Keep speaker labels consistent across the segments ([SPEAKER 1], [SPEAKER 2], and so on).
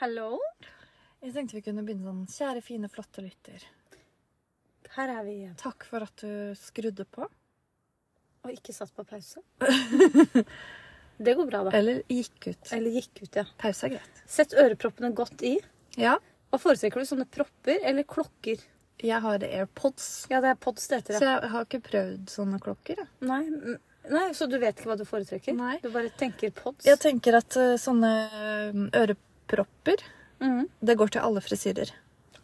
[SPEAKER 1] Hallo.
[SPEAKER 2] Jeg tenkte vi kunne begynne sånn Kjære, fine, flotte lytter.
[SPEAKER 1] Her er vi igjen.
[SPEAKER 2] Takk for at du skrudde på.
[SPEAKER 1] Og ikke satt på pause. Det går bra, da.
[SPEAKER 2] Eller gikk ut.
[SPEAKER 1] Eller gikk ut, ja.
[SPEAKER 2] Pause er greit.
[SPEAKER 1] Sett øreproppene godt i.
[SPEAKER 2] Ja.
[SPEAKER 1] Hva foretrekker du? Sånne propper eller klokker?
[SPEAKER 2] Jeg har AirPods,
[SPEAKER 1] Ja, det er pods det heter.
[SPEAKER 2] så
[SPEAKER 1] Ja.
[SPEAKER 2] jeg har ikke prøvd sånne klokker. Jeg,
[SPEAKER 1] Nei, mm, nei, så du vet ikke hva du foretrekker?
[SPEAKER 2] Nei.
[SPEAKER 1] Du bare tenker pods?
[SPEAKER 2] jeg tenker at eh, sånne eh, ørepropper,
[SPEAKER 1] Mhm.
[SPEAKER 2] det går til alle frisyrer.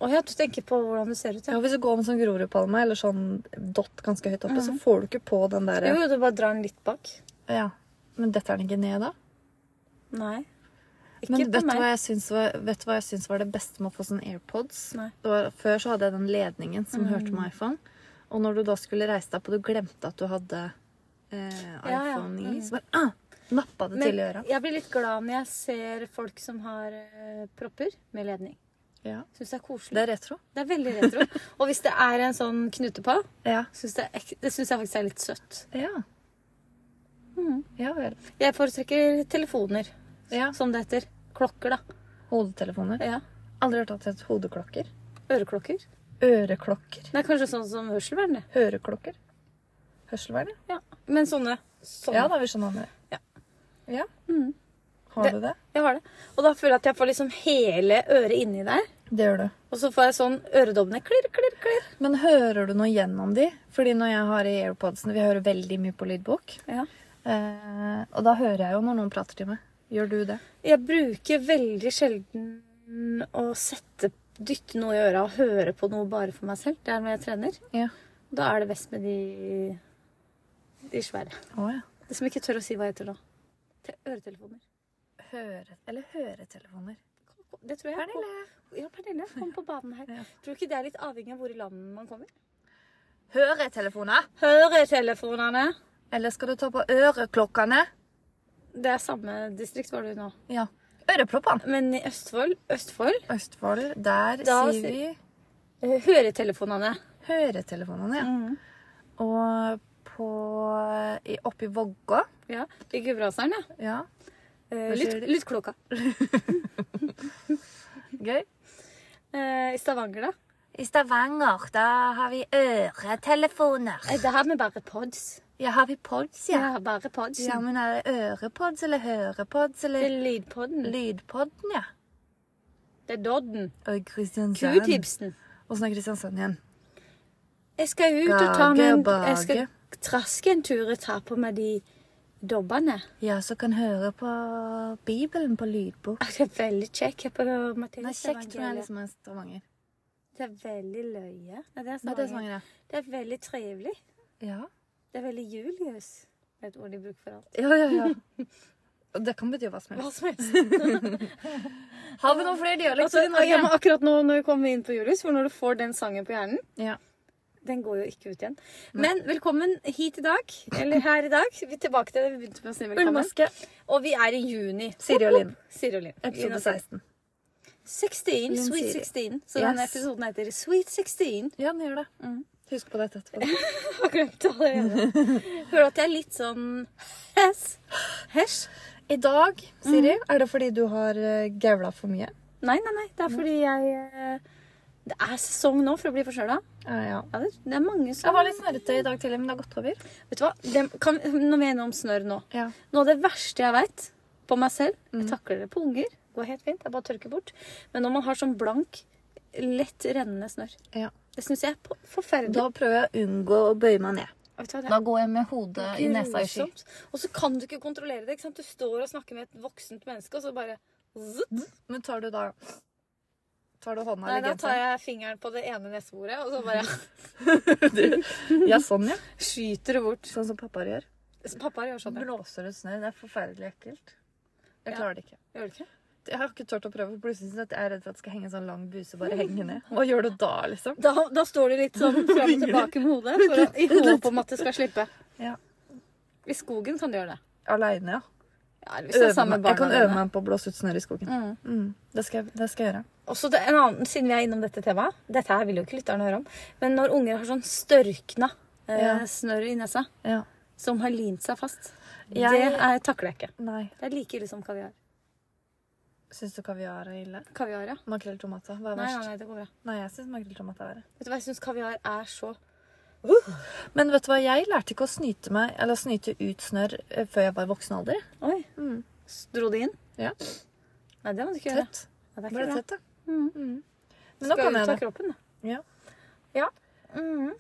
[SPEAKER 1] Å ja, du tenker på hvordan du ser ut,
[SPEAKER 2] Ja,
[SPEAKER 1] ja.
[SPEAKER 2] hvis du går med sånn Grorudpalme eller sånn dott ganske høyt oppe, så får du ikke på den der
[SPEAKER 1] Jo, jo, du bare drar den litt bak.
[SPEAKER 2] Ja. Men detter den ikke ned da?
[SPEAKER 1] Nei. Ikke
[SPEAKER 2] Men
[SPEAKER 1] på
[SPEAKER 2] vet du,
[SPEAKER 1] meg.
[SPEAKER 2] hva jeg syns var, vet du hva jeg syns var det beste med å få sånne AirPods?
[SPEAKER 1] Nei. Mm.
[SPEAKER 2] Det var, før så hadde jeg den ledningen som hørte med iPhone. Og når du da skulle reise deg på, du glemte at du hadde eh,
[SPEAKER 1] Ja, ja.
[SPEAKER 2] iPhone i, så bare ah, nappa det
[SPEAKER 1] Men
[SPEAKER 2] til i øra.
[SPEAKER 1] jeg blir litt glad når jeg ser folk som har eh, propper med ledning.
[SPEAKER 2] Ja.
[SPEAKER 1] Syns det er koselig.
[SPEAKER 2] Det er retro.
[SPEAKER 1] Det er veldig retro. Og hvis det er en sånn knute på,
[SPEAKER 2] Ja.
[SPEAKER 1] synes det, er ek- det syns jeg faktisk er litt søtt.
[SPEAKER 2] Ja.
[SPEAKER 1] Mm.
[SPEAKER 2] ja vel.
[SPEAKER 1] Jeg foretrekker telefoner,
[SPEAKER 2] Ja.
[SPEAKER 1] som det heter. Klokker, da.
[SPEAKER 2] Hodetelefoner.
[SPEAKER 1] Ja.
[SPEAKER 2] Aldri hørt at det het hodeklokker.
[SPEAKER 1] Øreklokker.
[SPEAKER 2] Øreklokker.
[SPEAKER 1] Det er kanskje sånn som hørselvern, det.
[SPEAKER 2] Høreklokker. Hørselvern, ja.
[SPEAKER 1] Ja. Men sånne. sånne.
[SPEAKER 2] Ja, da er vi sånn andre.
[SPEAKER 1] Ja. Mm.
[SPEAKER 2] Ja? Har
[SPEAKER 1] Det-
[SPEAKER 2] du det?
[SPEAKER 1] Jeg har det. Og da føler jeg at jeg får liksom hele øret inni der.
[SPEAKER 2] Det gjør du.
[SPEAKER 1] Og så får jeg sånn øredobbene klirr, klirr, klirr.
[SPEAKER 2] Men hører du noe gjennom de? Fordi når jeg har i AirPodsene Vi hører veldig mye på lydbok.
[SPEAKER 1] Ja.
[SPEAKER 2] Eh, og da hører jeg jo når noen prater til meg. Gjør du det?
[SPEAKER 1] Jeg bruker veldig sjelden å sette Dytte noe i øra og høre på noe bare for meg selv. Det er når jeg trener.
[SPEAKER 2] Ja.
[SPEAKER 1] Da er det best med de, de svære.
[SPEAKER 2] Å ja.
[SPEAKER 1] Det som jeg ikke tør å si hva heter da. Te øretelefoner.
[SPEAKER 2] Høre, eller høretelefoner.
[SPEAKER 1] Det tror jeg.
[SPEAKER 2] Pernille!
[SPEAKER 1] Ja, Pernille kom på banen her.
[SPEAKER 2] Ja.
[SPEAKER 1] Tror du ikke det er litt avhengig av hvor i landet man kommer?
[SPEAKER 2] Høretelefoner!
[SPEAKER 1] Høretelefonene.
[SPEAKER 2] Eller skal du ta på øreklokkene?
[SPEAKER 1] Det er samme distrikt var du nå.
[SPEAKER 2] Ja. Øreploppene.
[SPEAKER 1] Men i Østfold, Østfold
[SPEAKER 2] Østfold, der
[SPEAKER 1] Da
[SPEAKER 2] sier vi
[SPEAKER 1] sier- eh, Mm. høretelefonene.
[SPEAKER 2] høretelefonene, ja. Mm. Og på i, Oppe i Vågå
[SPEAKER 1] Ja, I Gudbrandsdalen, ja.
[SPEAKER 2] Ja.
[SPEAKER 1] Eh,
[SPEAKER 2] Hva
[SPEAKER 1] lytt-
[SPEAKER 2] sier de?
[SPEAKER 1] Lyttklokka.
[SPEAKER 2] Gøy.
[SPEAKER 1] Eh, I Stavanger, da.
[SPEAKER 2] I Stavanger, da har vi øretelefoner.
[SPEAKER 1] Eh, det her med bare pods.
[SPEAKER 2] Ja, har vi pods, ja?
[SPEAKER 1] Ja, bare pods.
[SPEAKER 2] Ja, men er det ørepods eller hørepods
[SPEAKER 1] Det
[SPEAKER 2] eller
[SPEAKER 1] er lydpodden.
[SPEAKER 2] lydpodden, ja?
[SPEAKER 1] Det er Dodden.
[SPEAKER 2] Og Kristiansand.
[SPEAKER 1] Q-tipsen.
[SPEAKER 2] Åssen er Kristiansand igjen?
[SPEAKER 1] Jeg skal ut og ta
[SPEAKER 2] Gage
[SPEAKER 1] meg en
[SPEAKER 2] og bage.
[SPEAKER 1] Jeg skal traske en tur og ta på meg de dobbene.
[SPEAKER 2] Ja, så kan høre på Bibelen på lydbok.
[SPEAKER 1] Ah, Det er veldig kjekk. Jeg på Matteus
[SPEAKER 2] Nei, kjekt, men jeg
[SPEAKER 1] evangeliet.
[SPEAKER 2] liksom er Stavanger.
[SPEAKER 1] Det er veldig løye. Nei, det er
[SPEAKER 2] Nei, det er
[SPEAKER 1] Stavanger.
[SPEAKER 2] Stavanger, ja.
[SPEAKER 1] Det er veldig trivelig.
[SPEAKER 2] Ja,
[SPEAKER 1] Det er veldig Julius. Det er et ord de bruker for alt.
[SPEAKER 2] ja, ja. ja. Og det kan bety hva som
[SPEAKER 1] Hva
[SPEAKER 2] helst.
[SPEAKER 1] som helst.
[SPEAKER 2] Har vi noen flere
[SPEAKER 1] Altså,
[SPEAKER 2] dialekter i
[SPEAKER 1] ja,
[SPEAKER 2] Norge?
[SPEAKER 1] men akkurat nå når vi kommer inn på Julius, for når du får den sangen på hjernen
[SPEAKER 2] Ja.
[SPEAKER 1] Den går jo ikke ut igjen. Men velkommen hit i dag. Eller her i dag. Vi er tilbake til det vi begynte med å si velkommen.
[SPEAKER 2] Ullmaske.
[SPEAKER 1] Og vi er i juni.
[SPEAKER 2] Siri og Linn.
[SPEAKER 1] Siri og Linn. Linn
[SPEAKER 2] Episode
[SPEAKER 1] og Siri.
[SPEAKER 2] 16.
[SPEAKER 1] 16.
[SPEAKER 2] Linn
[SPEAKER 1] Sweet
[SPEAKER 2] Siri.
[SPEAKER 1] 16. Så
[SPEAKER 2] Yes.
[SPEAKER 1] denne episoden heter Sweet 16.
[SPEAKER 2] Ja, den gjør det. Husk på dette etterpå.
[SPEAKER 1] Jeg har glemt det allerede. Hører du at jeg er litt sånn hes? Hes?
[SPEAKER 2] I dag, Siri, er det fordi du har eh, gaula for mye?
[SPEAKER 1] Nei, nei, nei. Det er fordi jeg eh, Det er sesong nå for å bli forkjøla.
[SPEAKER 2] Ja, ja.
[SPEAKER 1] Ja, det, det er mange
[SPEAKER 2] Jeg
[SPEAKER 1] som
[SPEAKER 2] var litt snørrete i dag tidlig, men det har gått over.
[SPEAKER 1] Vet du hva? Det, kan, når vi er innom snørr nå
[SPEAKER 2] Ja.
[SPEAKER 1] Noe av det verste jeg veit på meg selv Jeg
[SPEAKER 2] Mm.
[SPEAKER 1] takler det på unger. Går helt fint. Jeg bare tørker bort. Men når man har sånn blank, lett rennende snørr Det syns jeg er på- forferdelig.
[SPEAKER 2] Da prøver jeg å unngå å bøye meg ned.
[SPEAKER 1] Vet du hva, det er
[SPEAKER 2] Da går jeg med hodet i nesa i sky.
[SPEAKER 1] grusomt. Og så kan du ikke kontrollere det. ikke sant? Du står og snakker med et voksent menneske, og så bare zzz,
[SPEAKER 2] Men tar du da Tar du hånda
[SPEAKER 1] Nei,
[SPEAKER 2] eller
[SPEAKER 1] da tar
[SPEAKER 2] genseren?
[SPEAKER 1] jeg fingeren på det ene neseboret, og så bare
[SPEAKER 2] Ja, sånn, ja.
[SPEAKER 1] skyter det bort.
[SPEAKER 2] Sånn som pappaer gjør.
[SPEAKER 1] Så Pappa gjør sånn. ja.
[SPEAKER 2] Blåser ut snø. Det er forferdelig ekkelt. Jeg
[SPEAKER 1] Ja.
[SPEAKER 2] klarer det ikke.
[SPEAKER 1] Gjør du ikke?
[SPEAKER 2] Jeg har ikke turt å prøve, for plutselig synes jeg at jeg er redd for at det skal henge en sånn lang buse og bare henge ned. Hva gjør du da, liksom?
[SPEAKER 1] Da, da står du litt sånn fram og tilbake med hodet, for å, i håp om at det skal slippe.
[SPEAKER 2] Ja.
[SPEAKER 1] I skogen kan du gjøre det.
[SPEAKER 2] Aleine, ja.
[SPEAKER 1] Ja, eller hvis du er
[SPEAKER 2] Øve
[SPEAKER 1] sammen med
[SPEAKER 2] meg. Jeg kan
[SPEAKER 1] barna
[SPEAKER 2] øve
[SPEAKER 1] dine.
[SPEAKER 2] meg på å blåse ut snørr i skogen.
[SPEAKER 1] Mm.
[SPEAKER 2] Mm. Det, skal jeg, det skal jeg gjøre.
[SPEAKER 1] Og så det- en annen, Siden vi er innom dette temaet Dette her vil jo ikke lytterne høre om. Men når unger har sånn størkna eh,
[SPEAKER 2] Ja.
[SPEAKER 1] snørr i nesa
[SPEAKER 2] Ja.
[SPEAKER 1] som har limt seg fast.
[SPEAKER 2] Jeg-
[SPEAKER 1] Det er, takler jeg ikke.
[SPEAKER 2] Nei.
[SPEAKER 1] Det er like ille som kaviar.
[SPEAKER 2] Syns du kaviar er ille?
[SPEAKER 1] Kaviar, ja.
[SPEAKER 2] Makrell i tomat, da. Hva er
[SPEAKER 1] Nei, nei,
[SPEAKER 2] verst? Nei,
[SPEAKER 1] nei, det går bra.
[SPEAKER 2] jeg syns makrell i tomat er verre.
[SPEAKER 1] Vet du hva, jeg syns kaviar er så
[SPEAKER 2] Men vet du hva, jeg lærte ikke å snyte meg, eller å snyte ut snørr eh, før jeg var i voksen alder.
[SPEAKER 1] Oi.
[SPEAKER 2] Mm.
[SPEAKER 1] S- Dro det inn?
[SPEAKER 2] Ja.
[SPEAKER 1] Nei, det må du ikke gjøre.
[SPEAKER 2] Tett.
[SPEAKER 1] Nei, det er
[SPEAKER 2] Ble
[SPEAKER 1] ikke
[SPEAKER 2] det
[SPEAKER 1] bra.
[SPEAKER 2] tett, da?
[SPEAKER 1] Mm.
[SPEAKER 2] Mm. Men nå
[SPEAKER 1] Skal
[SPEAKER 2] kan
[SPEAKER 1] ut
[SPEAKER 2] jeg
[SPEAKER 1] av
[SPEAKER 2] det.
[SPEAKER 1] kroppen, da.
[SPEAKER 2] Ja. Ja.
[SPEAKER 1] Mhm.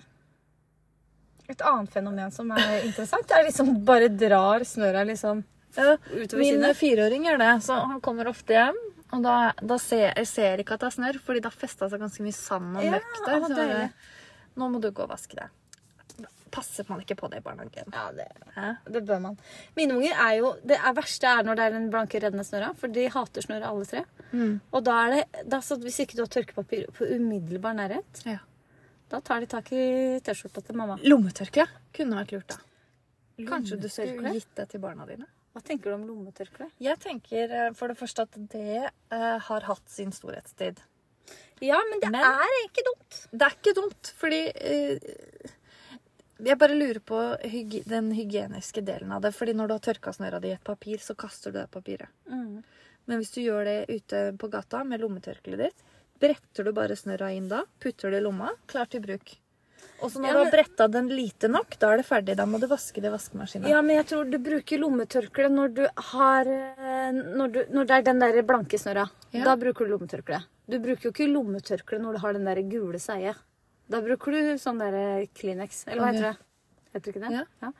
[SPEAKER 1] Et annet fenomen som er interessant, er liksom bare drar snøra liksom
[SPEAKER 2] Ja,
[SPEAKER 1] utover
[SPEAKER 2] Min
[SPEAKER 1] kinnet.
[SPEAKER 2] fireåring gjør det, så han kommer ofte hjem. Og da, da ser jeg ser ikke at det er snørr, fordi det har festa seg ganske mye sand og
[SPEAKER 1] Ja,
[SPEAKER 2] møkk der.
[SPEAKER 1] å,
[SPEAKER 2] Så er det,
[SPEAKER 1] deilig.
[SPEAKER 2] nå må du gå og vaske deg. Passer man ikke på det i barnehagen?
[SPEAKER 1] Ja, det,
[SPEAKER 2] Hæ?
[SPEAKER 1] det bør man. Mine unger er jo Det er verste er når det er den blanke, reddende snøra, for de hater snøra alle tre.
[SPEAKER 2] Mm.
[SPEAKER 1] Og da er det da, så Hvis ikke du har tørkepapir på umiddelbar nærhet,
[SPEAKER 2] Ja.
[SPEAKER 1] da tar de tak i T-skjorta til mamma.
[SPEAKER 2] Lommetørkle kunne vært lurt, da. Kanskje du skulle
[SPEAKER 1] Lommetørkle?
[SPEAKER 2] gitt det til barna dine?
[SPEAKER 1] Hva tenker du om lommetørkle?
[SPEAKER 2] Jeg tenker eh, for det første at det eh, har hatt sin storhetstid.
[SPEAKER 1] Ja, men det
[SPEAKER 2] Men-
[SPEAKER 1] er ikke dumt.
[SPEAKER 2] Det er ikke dumt, fordi eh, Jeg bare lurer på hyg den hygieniske delen av det. Fordi når du har tørka snøra di i et papir, så kaster du det papiret.
[SPEAKER 1] Mm.
[SPEAKER 2] Men hvis du gjør det ute på gata med lommetørkleet ditt, bretter du bare snørra inn da, putter det i lomma, klar til bruk. Og så når
[SPEAKER 1] Ja,
[SPEAKER 2] du
[SPEAKER 1] men-
[SPEAKER 2] har bretta den lite nok, da er det ferdig. Da må du vaske det i vaskemaskinen.
[SPEAKER 1] Ja, men jeg tror du bruker lommetørkle når du har eh, Når, du, når det er den der blanke snørra.
[SPEAKER 2] Ja.
[SPEAKER 1] Da bruker du lommetørkle. Du bruker jo ikke lommetørkle når du har den der gule seie. Da bruker du sånn der eh, Kleenex, eller hva
[SPEAKER 2] Ok.
[SPEAKER 1] heter det? Heter det ikke det?
[SPEAKER 2] Ja.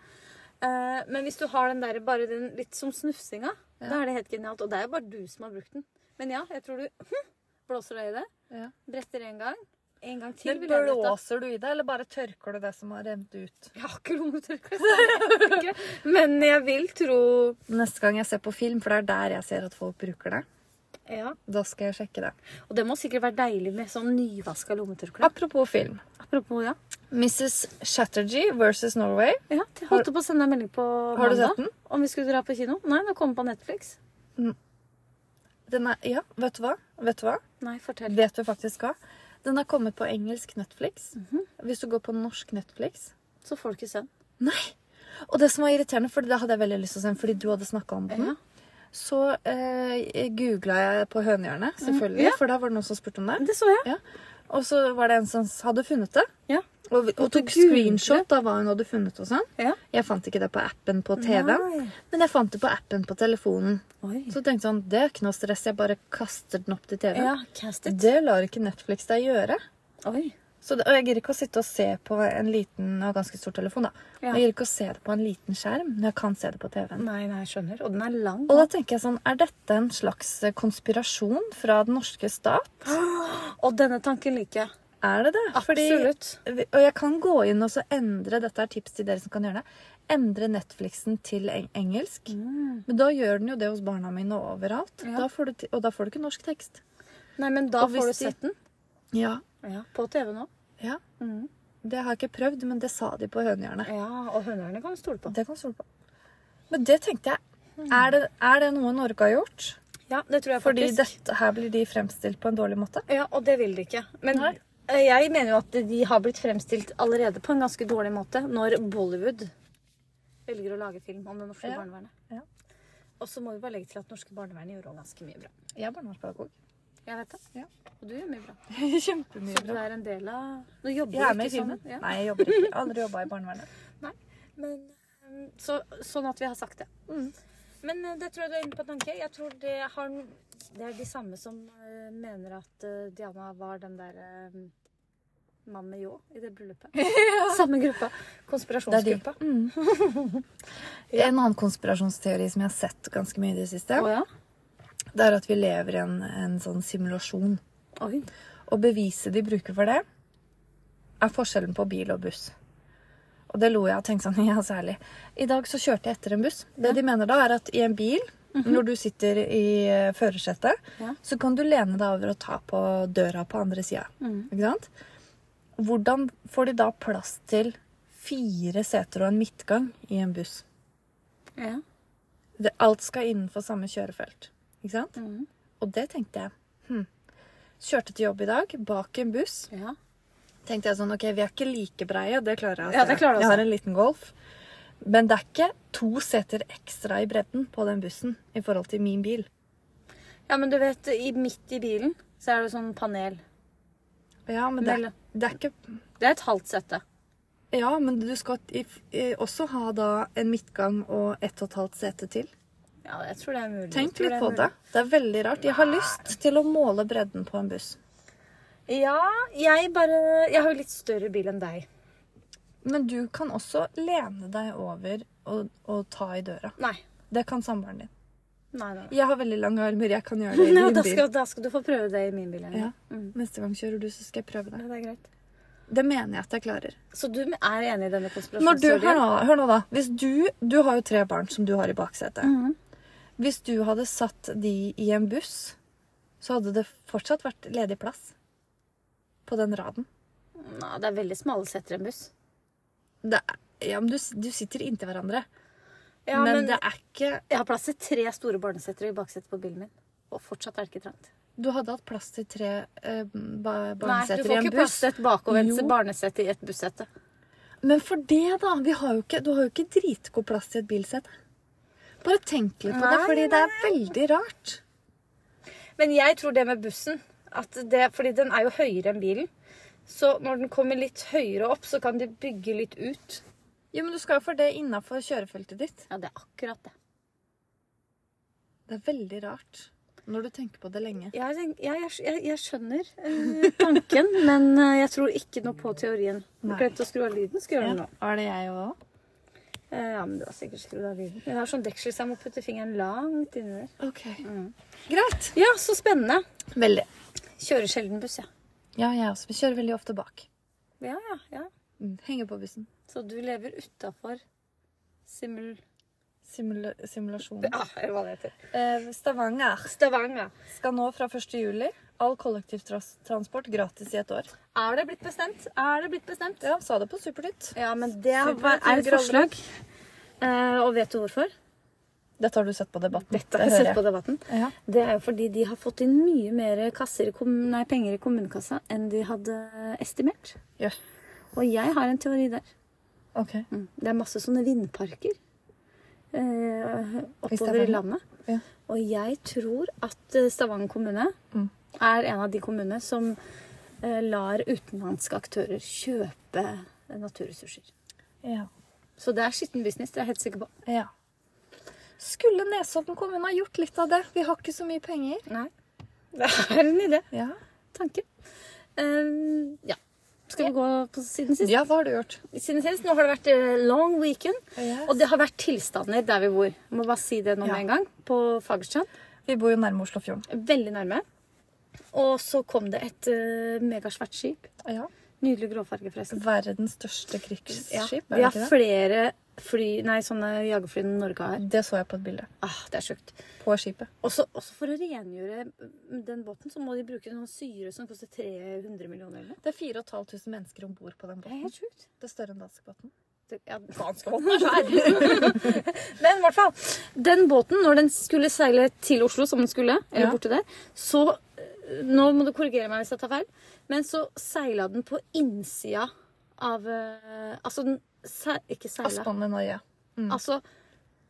[SPEAKER 1] Eh, men hvis du har den der bare den litt som snufsinga,
[SPEAKER 2] Ja.
[SPEAKER 1] da er det helt genialt. Og det er jo bare du som har brukt den. Men ja, jeg tror du hm, blåser deg i det.
[SPEAKER 2] Ja.
[SPEAKER 1] Bretter én gang. En gang til.
[SPEAKER 2] Men
[SPEAKER 1] vil jeg vite.
[SPEAKER 2] blåser du i det, eller bare tørker du det som har rent ut?
[SPEAKER 1] Jeg har ikke lommetørkle, så jeg vet ikke. men jeg vil tro
[SPEAKER 2] Neste gang jeg ser på film, for det er der jeg ser at folk bruker det,
[SPEAKER 1] ja.
[SPEAKER 2] da skal jeg sjekke det.
[SPEAKER 1] Og det må sikkert være deilig med sånn nyvaska lommetørkle.
[SPEAKER 2] Apropos film.
[SPEAKER 1] Apropos, ja.
[SPEAKER 2] Mrs. Chatterjee versus Norway.
[SPEAKER 1] ja jeg holdt på å sende deg en melding på mandag.
[SPEAKER 2] Har du sett den?
[SPEAKER 1] Om vi skulle dra på kino. Nei, den kom på Netflix.
[SPEAKER 2] Den er, ja, vet du hva? Vet du hva?
[SPEAKER 1] Nei, fortell.
[SPEAKER 2] Vet du faktisk hva? Den har kommet på engelsk Netflix.
[SPEAKER 1] Mhm.
[SPEAKER 2] Hvis du går på norsk Netflix
[SPEAKER 1] Så får du ikke se den.
[SPEAKER 2] Nei! Og det som var irriterende, for det hadde jeg veldig lyst til å se den, fordi du hadde snakka om den,
[SPEAKER 1] Ja.
[SPEAKER 2] så eh, googla jeg på Hønehjørnet, selvfølgelig,
[SPEAKER 1] Mhm. Ja.
[SPEAKER 2] for da var det noen som spurte om det.
[SPEAKER 1] Det så jeg.
[SPEAKER 2] Ja. Og så var det en som hadde funnet det,
[SPEAKER 1] Ja.
[SPEAKER 2] og, og
[SPEAKER 1] du
[SPEAKER 2] tok
[SPEAKER 1] googlet?
[SPEAKER 2] screenshot av hva hun hadde funnet og sånn.
[SPEAKER 1] Ja.
[SPEAKER 2] Jeg fant ikke det på appen på TV-en,
[SPEAKER 1] Nei.
[SPEAKER 2] men jeg fant det på appen på telefonen.
[SPEAKER 1] Oi.
[SPEAKER 2] Så tenkte jeg sånn, det er ikke noe stress, jeg bare kaster den opp til TV.
[SPEAKER 1] Ja, cast it.
[SPEAKER 2] Det lar ikke Netflix deg gjøre.
[SPEAKER 1] Oi.
[SPEAKER 2] Så det, og jeg gir ikke å sitte og se på en liten og ganske stor telefon, da.
[SPEAKER 1] Ja.
[SPEAKER 2] Jeg gir ikke å se det på en liten skjerm når jeg kan se det på TV-en.
[SPEAKER 1] Nei, nei, skjønner. Og den er lang.
[SPEAKER 2] Og da tenker jeg sånn, er dette en slags eh, konspirasjon fra den norske stat?
[SPEAKER 1] Og denne tanken liker jeg.
[SPEAKER 2] Er det det?
[SPEAKER 1] Absolutt.
[SPEAKER 2] Fordi, og jeg kan gå inn og så endre, dette er tips til dere som kan gjøre det, endre Netflixen til eng engelsk. Men da gjør den jo det hos barna mine overalt.
[SPEAKER 1] Mm. Ja.
[SPEAKER 2] Da får du, ti- og da får du ikke norsk tekst.
[SPEAKER 1] Nei, men da
[SPEAKER 2] Og hvis
[SPEAKER 1] får du
[SPEAKER 2] de-
[SPEAKER 1] sett den.
[SPEAKER 2] Ja.
[SPEAKER 1] Ja, På TV nå.
[SPEAKER 2] Ja.
[SPEAKER 1] Mm.
[SPEAKER 2] Det har jeg ikke prøvd, men det sa de på Hønehjørnet.
[SPEAKER 1] Ja, Mm. Og hønerne kan du stole på.
[SPEAKER 2] Det kan du stole på. Men det tenkte jeg. Er det, er det noe Norge har gjort?
[SPEAKER 1] Ja, det tror jeg
[SPEAKER 2] Fordi
[SPEAKER 1] faktisk.
[SPEAKER 2] dette her blir de fremstilt på en dårlig måte.
[SPEAKER 1] Ja, og det vil de ikke. Men
[SPEAKER 2] Nei.
[SPEAKER 1] eh, jeg mener jo at de har blitt fremstilt allerede på en ganske dårlig måte når Bollywood velger å lage film om det norske
[SPEAKER 2] Ja.
[SPEAKER 1] barnevernet.
[SPEAKER 2] Ja.
[SPEAKER 1] Og så må vi bare legge til at norske barnevernet gjør også ganske mye bra.
[SPEAKER 2] Jeg er barnevernspedagog.
[SPEAKER 1] Jeg vet det.
[SPEAKER 2] Ja.
[SPEAKER 1] Og du gjør mye bra.
[SPEAKER 2] Kjempemye
[SPEAKER 1] Så du
[SPEAKER 2] bra.
[SPEAKER 1] er en del av Nå jobber
[SPEAKER 2] Jeg er
[SPEAKER 1] du
[SPEAKER 2] med i
[SPEAKER 1] ikke
[SPEAKER 2] filmen.
[SPEAKER 1] sammen. Ja.
[SPEAKER 2] Nei, jeg jobber ikke. Jeg har Aldri jobba i barnevernet.
[SPEAKER 1] Men, eh, så, sånn at vi har sagt det.
[SPEAKER 2] Mm.
[SPEAKER 1] Men eh, det tror jeg du er inne på tanke. Jeg tror det, har, det er de samme som eh, mener at eh, Diana var den der uh, mannen med ljå i det bryllupet. Samme gruppa.
[SPEAKER 2] Det er de.
[SPEAKER 1] Konspirasjonsgruppa.
[SPEAKER 2] Mm. En annen konspirasjonsteori som jeg har sett ganske mye i det siste,
[SPEAKER 1] Å ja?
[SPEAKER 2] det er at vi lever i en, en sånn simulasjon.
[SPEAKER 1] Oi.
[SPEAKER 2] Og beviset de bruker for det, er forskjellen på bil og buss. Og det lo jeg av og tenkte sånn, ja, særlig. I dag så kjørte jeg etter en buss. Det de mener da, er at i en bil, når du sitter i eh, førersetet,
[SPEAKER 1] Mhm. Ja.
[SPEAKER 2] så kan du lene deg over og ta på døra på andre sida.
[SPEAKER 1] Mhm.
[SPEAKER 2] Ikke sant? Hvordan får de da plass til fire seter og en midtgang i en buss?
[SPEAKER 1] Ja.
[SPEAKER 2] Det, alt skal innenfor samme kjørefelt. Ikke sant?
[SPEAKER 1] Mhm.
[SPEAKER 2] hmm, Og det tenkte jeg. Hm. Kjørte til jobb i dag, bak en buss.
[SPEAKER 1] ja.
[SPEAKER 2] tenkte jeg sånn, ok, vi er ikke like breie, det klarer jeg. å
[SPEAKER 1] Ja,
[SPEAKER 2] se.
[SPEAKER 1] det klarer du å
[SPEAKER 2] jeg
[SPEAKER 1] se.
[SPEAKER 2] har en liten golf. Men det er ikke to seter ekstra i bredden på den bussen i forhold til min bil.
[SPEAKER 1] Ja, men du vet, i, midt i bilen så er det sånn panel.
[SPEAKER 2] Ja, men det er,
[SPEAKER 1] Mellom.
[SPEAKER 2] det er ikke...
[SPEAKER 1] Det er et halvt sette.
[SPEAKER 2] Ja, men du skal i, i, også ha da en midtgang og ett og et halvt sete til.
[SPEAKER 1] Ja, jeg tror det er mulig. Jeg
[SPEAKER 2] Tenk
[SPEAKER 1] tror
[SPEAKER 2] litt
[SPEAKER 1] er
[SPEAKER 2] på
[SPEAKER 1] mulig.
[SPEAKER 2] det. Det er veldig rart. Jeg har lyst til å måle bredden på en buss.
[SPEAKER 1] Ja, jeg bare Jeg har jo litt større bil enn deg.
[SPEAKER 2] Men du kan også lene deg over og, og ta i døra.
[SPEAKER 1] Nei.
[SPEAKER 2] Det kan samboeren din.
[SPEAKER 1] Nei, nei. nei.
[SPEAKER 2] Jeg har veldig lange armer, jeg kan gjøre det i
[SPEAKER 1] Ja,
[SPEAKER 2] min
[SPEAKER 1] da,
[SPEAKER 2] bil.
[SPEAKER 1] skal, da skal du få prøve det i min bil.
[SPEAKER 2] Ja.
[SPEAKER 1] Jenny. Mm.
[SPEAKER 2] Neste gang kjører du, så skal jeg prøve
[SPEAKER 1] Ja,
[SPEAKER 2] det.
[SPEAKER 1] det er greit.
[SPEAKER 2] Det mener jeg at jeg klarer.
[SPEAKER 1] Så du er enig i denne
[SPEAKER 2] Når du, hør,
[SPEAKER 1] konspirasjonsteorien?
[SPEAKER 2] nå, hør nå, da. Hvis du, du har jo tre barn som du har i baksetet.
[SPEAKER 1] Mhm.
[SPEAKER 2] Hvis du hadde satt de i en buss, så hadde det fortsatt vært ledig plass på den raden.
[SPEAKER 1] Nei, det er veldig smale setter i en buss.
[SPEAKER 2] Det er, ja, men du, s- du sitter inntil hverandre.
[SPEAKER 1] Ja,
[SPEAKER 2] men,
[SPEAKER 1] men,
[SPEAKER 2] det er ikke
[SPEAKER 1] jeg har plass til tre store barnesetter i baksetet på bilen min. Og fortsatt er det ikke trangt.
[SPEAKER 2] Du hadde hatt plass til tre eh, ba,
[SPEAKER 1] Nei, du
[SPEAKER 2] barneseter i
[SPEAKER 1] får
[SPEAKER 2] en
[SPEAKER 1] ikke plass
[SPEAKER 2] buss.
[SPEAKER 1] til et bakovervendt
[SPEAKER 2] Jo.
[SPEAKER 1] barnesete i et bussete.
[SPEAKER 2] Men for det, da. Vi har jo ikke, du har jo ikke dritgod plass til et bilsete. Bare tenk litt på det,
[SPEAKER 1] Nei,
[SPEAKER 2] fordi det er veldig rart.
[SPEAKER 1] Men jeg tror det med bussen at det, Fordi den er jo høyere enn bilen. Så når den kommer litt høyere opp, så kan de bygge litt ut.
[SPEAKER 2] Jo, men du skal jo for det innafor kjørefeltet ditt.
[SPEAKER 1] Ja, det er akkurat det.
[SPEAKER 2] Det er veldig rart når du tenker på det lenge.
[SPEAKER 1] Jeg, tenk- ja, jeg, jeg, jeg skjønner eh, tanken, men eh, jeg tror ikke noe på teorien. Du
[SPEAKER 2] Nei.
[SPEAKER 1] glemte å skru av lyden. Skal jeg gjøre det nå.
[SPEAKER 2] Var det jeg òg?
[SPEAKER 1] Eh, ja, men du har sikkert skrudd av lyden. Jeg har sånn deksel, så jeg må putte fingeren langt inni der.
[SPEAKER 2] Ok. Greit.
[SPEAKER 1] Ja, så spennende.
[SPEAKER 2] Mm. Veldig.
[SPEAKER 1] Kjører sjelden buss, jeg.
[SPEAKER 2] Ja, jeg også. Vi kjører veldig ofte bak. Mm.
[SPEAKER 1] Ja. ja, ja,
[SPEAKER 2] Henger på bussen.
[SPEAKER 1] Så du lever utafor simul...
[SPEAKER 2] Simula simulasjon.
[SPEAKER 1] Ja, eller hva det heter.
[SPEAKER 2] Eh, Stavanger
[SPEAKER 1] Stavanger.
[SPEAKER 2] skal nå fra 1. juli all kollektivtransport gratis i et år.
[SPEAKER 1] Er det blitt bestemt? Er det blitt bestemt?
[SPEAKER 2] Ja, sa det på Supernytt.
[SPEAKER 1] Ja, men det
[SPEAKER 2] Super-
[SPEAKER 1] er et forslag. Eh, og vet du hvorfor?
[SPEAKER 2] Dette har du sett på Debatten.
[SPEAKER 1] Dette har jeg sett på debatten.
[SPEAKER 2] Ja.
[SPEAKER 1] Det er jo fordi de har fått inn mye mer kasser, i kommun- nei, penger i kommunekassa enn de hadde estimert.
[SPEAKER 2] Jøss.
[SPEAKER 1] Og jeg har en teori der. Mm.
[SPEAKER 2] Ok.
[SPEAKER 1] Det er masse sånne vindparker eh, oppover i
[SPEAKER 2] Stavanger?
[SPEAKER 1] landet.
[SPEAKER 2] Ja.
[SPEAKER 1] Og jeg tror at eh, Stavanger kommune
[SPEAKER 2] Mm.
[SPEAKER 1] er en av de kommunene som eh, lar utenlandske aktører kjøpe eh, naturressurser.
[SPEAKER 2] Ja.
[SPEAKER 1] Så det er skitten business, det er jeg helt sikker på.
[SPEAKER 2] ja. Skulle Nesodden kommune ha gjort litt av det? Vi har ikke så mye penger.
[SPEAKER 1] Nei. Det er en idé.
[SPEAKER 2] Ja.
[SPEAKER 1] Tanke. Ehm, ja. Skal vi gå på siden sist?
[SPEAKER 2] Ja, hva har du gjort?
[SPEAKER 1] Siden sist, Nå har det vært eh, long weekend,
[SPEAKER 2] Yes.
[SPEAKER 1] og det har vært tilstander der vi bor. Må bare si det nå
[SPEAKER 2] Ja.
[SPEAKER 1] med en gang. På Fagerstrand.
[SPEAKER 2] Vi bor jo nærme Oslofjorden.
[SPEAKER 1] Veldig nærme. Og så kom det et eh, megasvært skip.
[SPEAKER 2] Ja.
[SPEAKER 1] Nydelig gråfarge, forresten.
[SPEAKER 2] Verdens største krigsskip,
[SPEAKER 1] Ja.
[SPEAKER 2] er
[SPEAKER 1] Vi
[SPEAKER 2] det
[SPEAKER 1] har
[SPEAKER 2] ikke det?
[SPEAKER 1] flere fly, nei, sånne jagerfly enn Norge har.
[SPEAKER 2] Det så jeg på et bilde.
[SPEAKER 1] Ah, det er sjukt.
[SPEAKER 2] På skipet.
[SPEAKER 1] Også, også for å rengjøre den båten, så må de bruke noen syre som koster 300 millioner eller noe.
[SPEAKER 2] Det er 4500 mennesker om bord på den
[SPEAKER 1] Det er
[SPEAKER 2] båten.
[SPEAKER 1] helt sjukt.
[SPEAKER 2] Det er større enn danskebåten.
[SPEAKER 1] Det- Ja, danskebåten er svær! Men i hvert fall. Den båten, når den skulle seile til Oslo, som den skulle, eller
[SPEAKER 2] Ja.
[SPEAKER 1] borti der, så øh, Nå må du korrigere meg hvis jeg tar feil, men så seila den på innsida av øh, Altså, den se, ikke seila
[SPEAKER 2] Aspane Norge. Mm.
[SPEAKER 1] Altså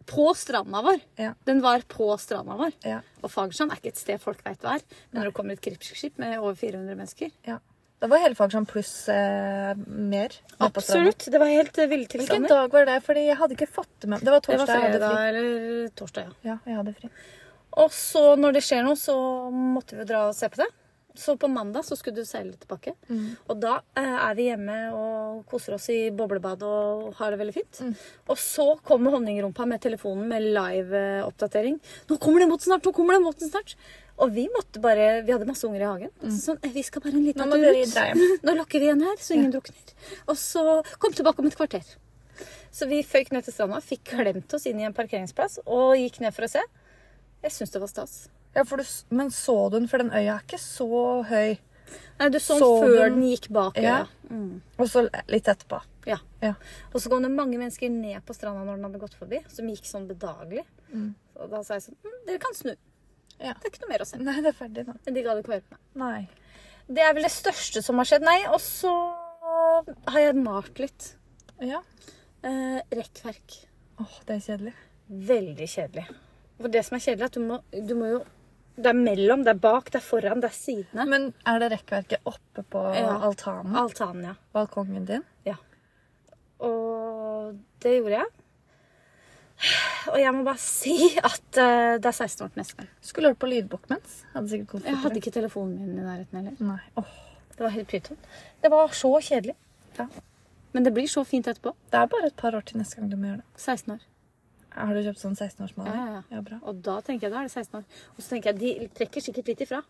[SPEAKER 1] på stranda vår.
[SPEAKER 2] Ja.
[SPEAKER 1] Den var på stranda vår.
[SPEAKER 2] Ja.
[SPEAKER 1] Og Fagerstrand er ikke et sted folk veit hva er. Men når det kommer et krigsskip med over 400 mennesker
[SPEAKER 2] ja. Det var hele Fagerstrand pluss eh, mer. nede på stranden.
[SPEAKER 1] Absolutt. Det var helt eh, ville
[SPEAKER 2] Hvilken
[SPEAKER 1] tilstander.
[SPEAKER 2] dag var det? Fordi jeg hadde ikke fått det med Det var
[SPEAKER 1] Det
[SPEAKER 2] torsdag.
[SPEAKER 1] var
[SPEAKER 2] jeg hadde
[SPEAKER 1] fredag
[SPEAKER 2] fri.
[SPEAKER 1] eller torsdag, ja.
[SPEAKER 2] Ja, jeg hadde fri.
[SPEAKER 1] Og så når det skjer noe, så måtte vi jo dra og se på det. Så på mandag så skulle du seile tilbake.
[SPEAKER 2] Mm.
[SPEAKER 1] Og da eh, er vi hjemme og koser oss i boblebad og har det veldig fint.
[SPEAKER 2] Mm.
[SPEAKER 1] Og så kommer honningrumpa med telefonen med live-oppdatering. 'Nå kommer den båten snart! Nå kommer den båten snart!' Og vi måtte bare Vi hadde masse unger i hagen. Og så sånn, eh, vi skal bare en
[SPEAKER 2] Mm. Nå
[SPEAKER 1] liten
[SPEAKER 2] må
[SPEAKER 1] tur
[SPEAKER 2] dere
[SPEAKER 1] ut.
[SPEAKER 2] dra hjem.
[SPEAKER 1] Nå lokker vi igjen her, så ingen drukner. Og så kom tilbake om et kvarter. Så vi føyk ned til stranda, fikk klemt oss inn i en parkeringsplass og gikk ned for å se. Jeg syns det var stas.
[SPEAKER 2] Ja, for du, s- men så du den? For den øya er ikke så høy.
[SPEAKER 1] Nei, du så,
[SPEAKER 2] Så
[SPEAKER 1] den før
[SPEAKER 2] den-
[SPEAKER 1] den gikk bak
[SPEAKER 2] Ja.
[SPEAKER 1] øya. Mm.
[SPEAKER 2] Og så litt etterpå.
[SPEAKER 1] Ja.
[SPEAKER 2] Ja.
[SPEAKER 1] Og så kom det mange mennesker ned på stranda når den hadde gått forbi, som gikk sånn bedagelig. Og da sa jeg sånn hm, Dere kan snu.
[SPEAKER 2] Ja.
[SPEAKER 1] Det er ikke noe mer å se.
[SPEAKER 2] Nei, det er ferdig nå.
[SPEAKER 1] Men de gadd ikke å høre på meg.
[SPEAKER 2] Nei.
[SPEAKER 1] Det er vel det største som har skjedd. Nei, og så har jeg malt litt.
[SPEAKER 2] Ja.
[SPEAKER 1] Eh, rekkverk.
[SPEAKER 2] Åh, det er kjedelig.
[SPEAKER 1] Veldig kjedelig. For det som er kjedelig, er at du må, du må jo Det er mellom, det er bak, det er foran, det er sidene.
[SPEAKER 2] Men er det rekkverket oppe på
[SPEAKER 1] Ja.
[SPEAKER 2] altanen?
[SPEAKER 1] Altanen, ja.
[SPEAKER 2] Balkongen din?
[SPEAKER 1] Og det gjorde jeg. Og jeg må bare si at eh, det er 16 år til neste gang.
[SPEAKER 2] Skulle hørt på lydbok mens. Hadde sikkert kommet
[SPEAKER 1] Jeg
[SPEAKER 2] fortere.
[SPEAKER 1] hadde ikke telefonen min i nærheten heller.
[SPEAKER 2] Nei. Åh,
[SPEAKER 1] Det var helt pyton. Det var så kjedelig.
[SPEAKER 2] Ja.
[SPEAKER 1] Men det blir så fint etterpå.
[SPEAKER 2] Det er bare et par år til neste gang du må gjøre det.
[SPEAKER 1] 16 år.
[SPEAKER 2] Har du kjøpt sånn 16-årsmaling?
[SPEAKER 1] Ja, ja, ja.
[SPEAKER 2] ja, bra.
[SPEAKER 1] Og da tenker jeg, da er det 16 år. Og så tenker jeg, de trekker sikkert litt ifra.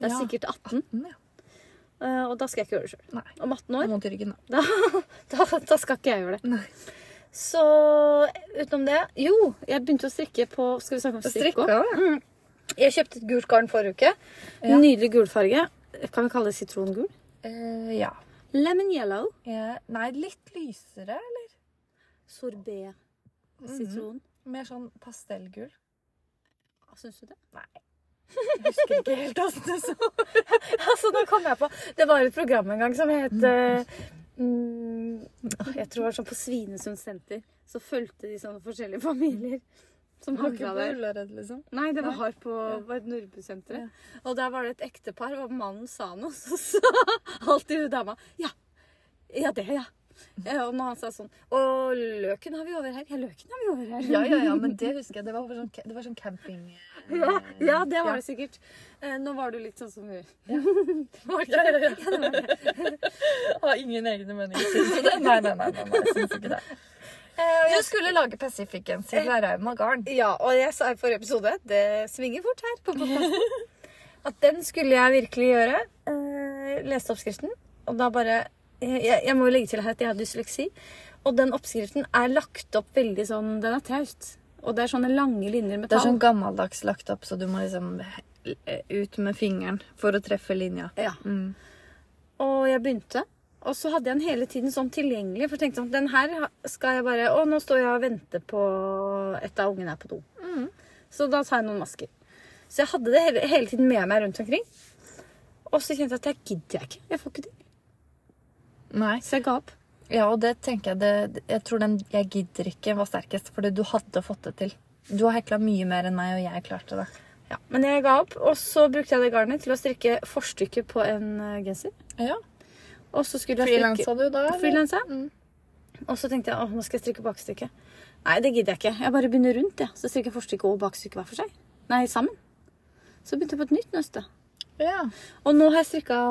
[SPEAKER 1] Det er
[SPEAKER 2] Ja.
[SPEAKER 1] sikkert 18,
[SPEAKER 2] Mm, ja.
[SPEAKER 1] eh, og da skal jeg ikke gjøre det sjøl.
[SPEAKER 2] Nei.
[SPEAKER 1] Om 18
[SPEAKER 2] Jeg har
[SPEAKER 1] år,
[SPEAKER 2] Vondt i ryggen, da.
[SPEAKER 1] da, da, da skal ikke jeg gjøre det.
[SPEAKER 2] Nei.
[SPEAKER 1] Så utenom det Jo, jeg begynte å strikke på Skal vi snakke om strikk òg?
[SPEAKER 2] Strikka.
[SPEAKER 1] Jeg kjøpte et gult garn forrige uke.
[SPEAKER 2] Ja.
[SPEAKER 1] Nydelig gulfarge. Kan vi kalle det sitrongul?
[SPEAKER 2] Eh, ja.
[SPEAKER 1] Lemon yellow.
[SPEAKER 2] Eh, Nei, litt lysere, eller?
[SPEAKER 1] Sorbet. Mhm. Sitron.
[SPEAKER 2] Mer sånn pastellgull.
[SPEAKER 1] Syns du det?
[SPEAKER 2] Jeg husker ikke helt åssen det så ut.
[SPEAKER 1] altså, nå kom jeg på Det var et program en gang som het eh, mm, åh, Jeg tror det var sånn på Svinesund senter. Så fulgte de sånne forskjellige familier som
[SPEAKER 2] Ikke
[SPEAKER 1] handla
[SPEAKER 2] på
[SPEAKER 1] der.
[SPEAKER 2] Ullared, liksom.
[SPEAKER 1] Nei, det var på ja. Nordbysenteret. Og der var det et ektepar, og mannen sa noe, så sa alltid hun dama Ja. Ja, det, ja. Ja, Og når han sa sånn Og løken har vi over her. Ja, løken har vi over her.
[SPEAKER 2] Ja, ja, ja, men det husker jeg. Det var over sånn, det var sånn camping...
[SPEAKER 1] Ja, ja, det var det sikkert. Eh, nå var du litt sånn som hun. Var det
[SPEAKER 2] Ja,
[SPEAKER 1] ikke
[SPEAKER 2] ja,
[SPEAKER 1] det?
[SPEAKER 2] ja. Har ingen egne meninger til det. Nei, nei, nei, nei, nei, jeg syns ikke det.
[SPEAKER 1] Eh, og
[SPEAKER 2] Du
[SPEAKER 1] jeg-
[SPEAKER 2] skulle lage Pacific-genser fra Rauma Garn.
[SPEAKER 1] Ja, og jeg sa i forrige episode Det svinger fort her på podcasten At den skulle jeg virkelig gjøre. Eh, leste oppskriften, og da bare jeg, jeg jeg må jo legge til her at jeg har dysleksi. Og den oppskriften er lagt opp veldig sånn Den er traust. Og det er sånne lange linjer med
[SPEAKER 2] Det er
[SPEAKER 1] tall.
[SPEAKER 2] sånn gammeldags lagt opp, så du må liksom eh, ut med fingeren for å treffe linja. Mm.
[SPEAKER 1] Ja. Og jeg begynte. Og så hadde jeg den hele tiden sånn tilgjengelig. For jeg tenkte sånn, den her ha- skal jeg bare Å, nå står jeg og venter på et av ungene er på do. Så da tar jeg noen masker. Så jeg hadde det hele, hele tiden med meg rundt omkring. Og så kjente jeg at jeg gidder jeg ikke. Jeg får ikke til.
[SPEAKER 2] Nei.
[SPEAKER 1] Så jeg ga opp.
[SPEAKER 2] Ja, og det tenker jeg det, Jeg tror den 'jeg gidder ikke' var sterkest, fordi du hadde fått det til. Du har hekla mye mer enn meg, og jeg klarte det.
[SPEAKER 1] Ja, Men jeg ga opp, og så brukte jeg det garnet til å strikke forstykket på en eh, genser.
[SPEAKER 2] Ja.
[SPEAKER 1] Og så skulle jeg strikke
[SPEAKER 2] Frilansa du da? eller?
[SPEAKER 1] Frilansa. mm. Og så tenkte jeg åh, nå skal jeg strikke bakstykke. Nei, det gidder jeg ikke. Jeg bare begynner rundt, jeg. Så strikker jeg forstykke og bakstykke hver for seg. Nei, sammen. Så begynte jeg på et nytt nøste.
[SPEAKER 2] Ja.
[SPEAKER 1] Og nå har jeg strikka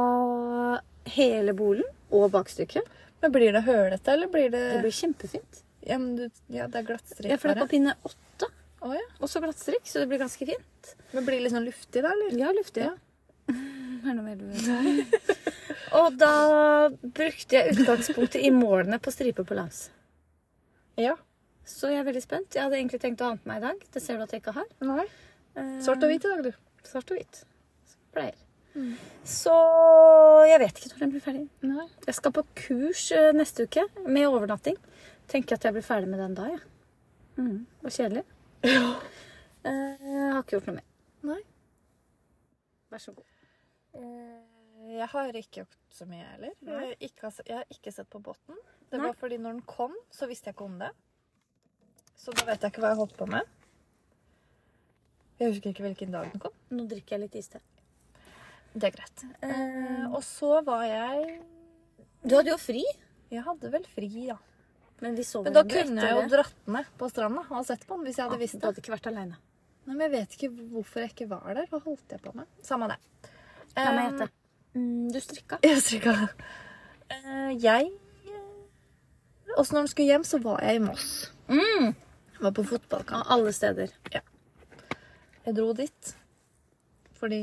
[SPEAKER 1] hele bolen og bakstykket.
[SPEAKER 2] Men blir det hølete, eller blir det,
[SPEAKER 1] Det blir kjempefint.
[SPEAKER 2] ja, men du, ja, det er glattstrikk
[SPEAKER 1] Ja, for det er på pinne åtte,
[SPEAKER 2] Å, ja.
[SPEAKER 1] og så glattstrikk, så det blir ganske fint.
[SPEAKER 2] Men blir det litt sånn luftig, da, eller?
[SPEAKER 1] Ja, luftig. Ja. Er det noe mer du vil? Og da brukte jeg utgangspunktet i målene på stripe på langs.
[SPEAKER 2] Ja.
[SPEAKER 1] Så jeg er veldig spent. Jeg hadde egentlig tenkt å ha den på meg i dag. Det ser du at jeg ikke har.
[SPEAKER 2] Nei.
[SPEAKER 1] Eh,
[SPEAKER 2] Svart og hvit Mm. i dag, du.
[SPEAKER 1] Svart og hvitt. Som Pleier. Så jeg vet ikke når den blir ferdig.
[SPEAKER 2] Nei.
[SPEAKER 1] Jeg skal på kurs eh, neste uke med overnatting. Tenker at jeg blir ferdig med den da, jeg. Ja. Mm. Og kjedelig. Eh, Jeg har ikke gjort noe mer.
[SPEAKER 2] Nei.
[SPEAKER 1] Vær så god.
[SPEAKER 2] Eh, Jeg har ikke gjort så mye, jeg heller. Jeg har ikke, har se- jeg har ikke sett på båten. Det
[SPEAKER 1] Nei.
[SPEAKER 2] var fordi når den kom, så visste jeg ikke om det. Så da vet jeg ikke hva jeg holdt på med. Jeg husker ikke hvilken dag den kom.
[SPEAKER 1] Nå drikker jeg litt iste.
[SPEAKER 2] Det er greit. Eh, og så var jeg
[SPEAKER 1] Du hadde jo fri.
[SPEAKER 2] Jeg hadde vel fri, ja.
[SPEAKER 1] Men vi sov
[SPEAKER 2] Men da
[SPEAKER 1] hverandre
[SPEAKER 2] kunne
[SPEAKER 1] etter
[SPEAKER 2] jeg jo
[SPEAKER 1] det.
[SPEAKER 2] dratt ned på stranda og sett på den hvis jeg hadde visst
[SPEAKER 1] Du
[SPEAKER 2] det.
[SPEAKER 1] hadde ikke vært aleine.
[SPEAKER 2] Nei, men jeg vet ikke hvorfor jeg ikke var der. Hva holdt jeg på med? Samme det.
[SPEAKER 1] La meg
[SPEAKER 2] Eh,
[SPEAKER 1] gjette. Mm, Du strikka.
[SPEAKER 2] Jeg strikka. Eh, jeg eh, Også når den skulle hjem, så var jeg i Moss.
[SPEAKER 1] Mm.
[SPEAKER 2] Jeg Var på fotballkamp.
[SPEAKER 1] Av alle steder.
[SPEAKER 2] Jeg dro dit fordi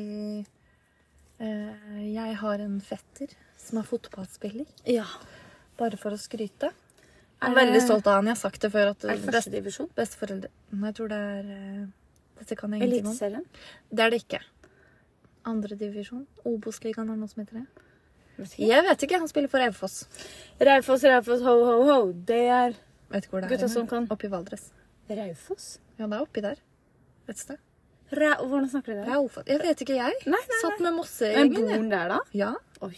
[SPEAKER 2] eh, jeg har en fetter som er fotballspiller.
[SPEAKER 1] Ja.
[SPEAKER 2] Bare for å skryte. Jeg
[SPEAKER 1] Er
[SPEAKER 2] er veldig
[SPEAKER 1] det-
[SPEAKER 2] stolt av han. Jeg har sagt det før. at
[SPEAKER 1] Eh, Er det
[SPEAKER 2] best,
[SPEAKER 1] førstedivisjon?
[SPEAKER 2] Besteforeldre Nei, jeg tror det er eh, Dette kan jeg ingenting om.
[SPEAKER 1] Eliteserien?
[SPEAKER 2] Det er det ikke. Andredivisjon. Obos-ligaen er noe som heter det.
[SPEAKER 1] Vet ikke.
[SPEAKER 2] Jeg vet ikke. Han spiller for Raufoss.
[SPEAKER 1] Raufoss, Raufoss, ho, ho, ho. Det er
[SPEAKER 2] Vet ikke hvor det
[SPEAKER 1] Gutta
[SPEAKER 2] er.
[SPEAKER 1] som kan.
[SPEAKER 2] Oppi Valdres.
[SPEAKER 1] Raufoss?
[SPEAKER 2] Ja, det er oppi der. Et sted.
[SPEAKER 1] Ra Hvordan snakker de der?
[SPEAKER 2] Raufoss Jeg vet ikke, jeg.
[SPEAKER 1] Nei, nei,
[SPEAKER 2] Satt med
[SPEAKER 1] Men bor
[SPEAKER 2] Mossegjengen. jeg.
[SPEAKER 1] den der, da?
[SPEAKER 2] Ja.
[SPEAKER 1] Oi.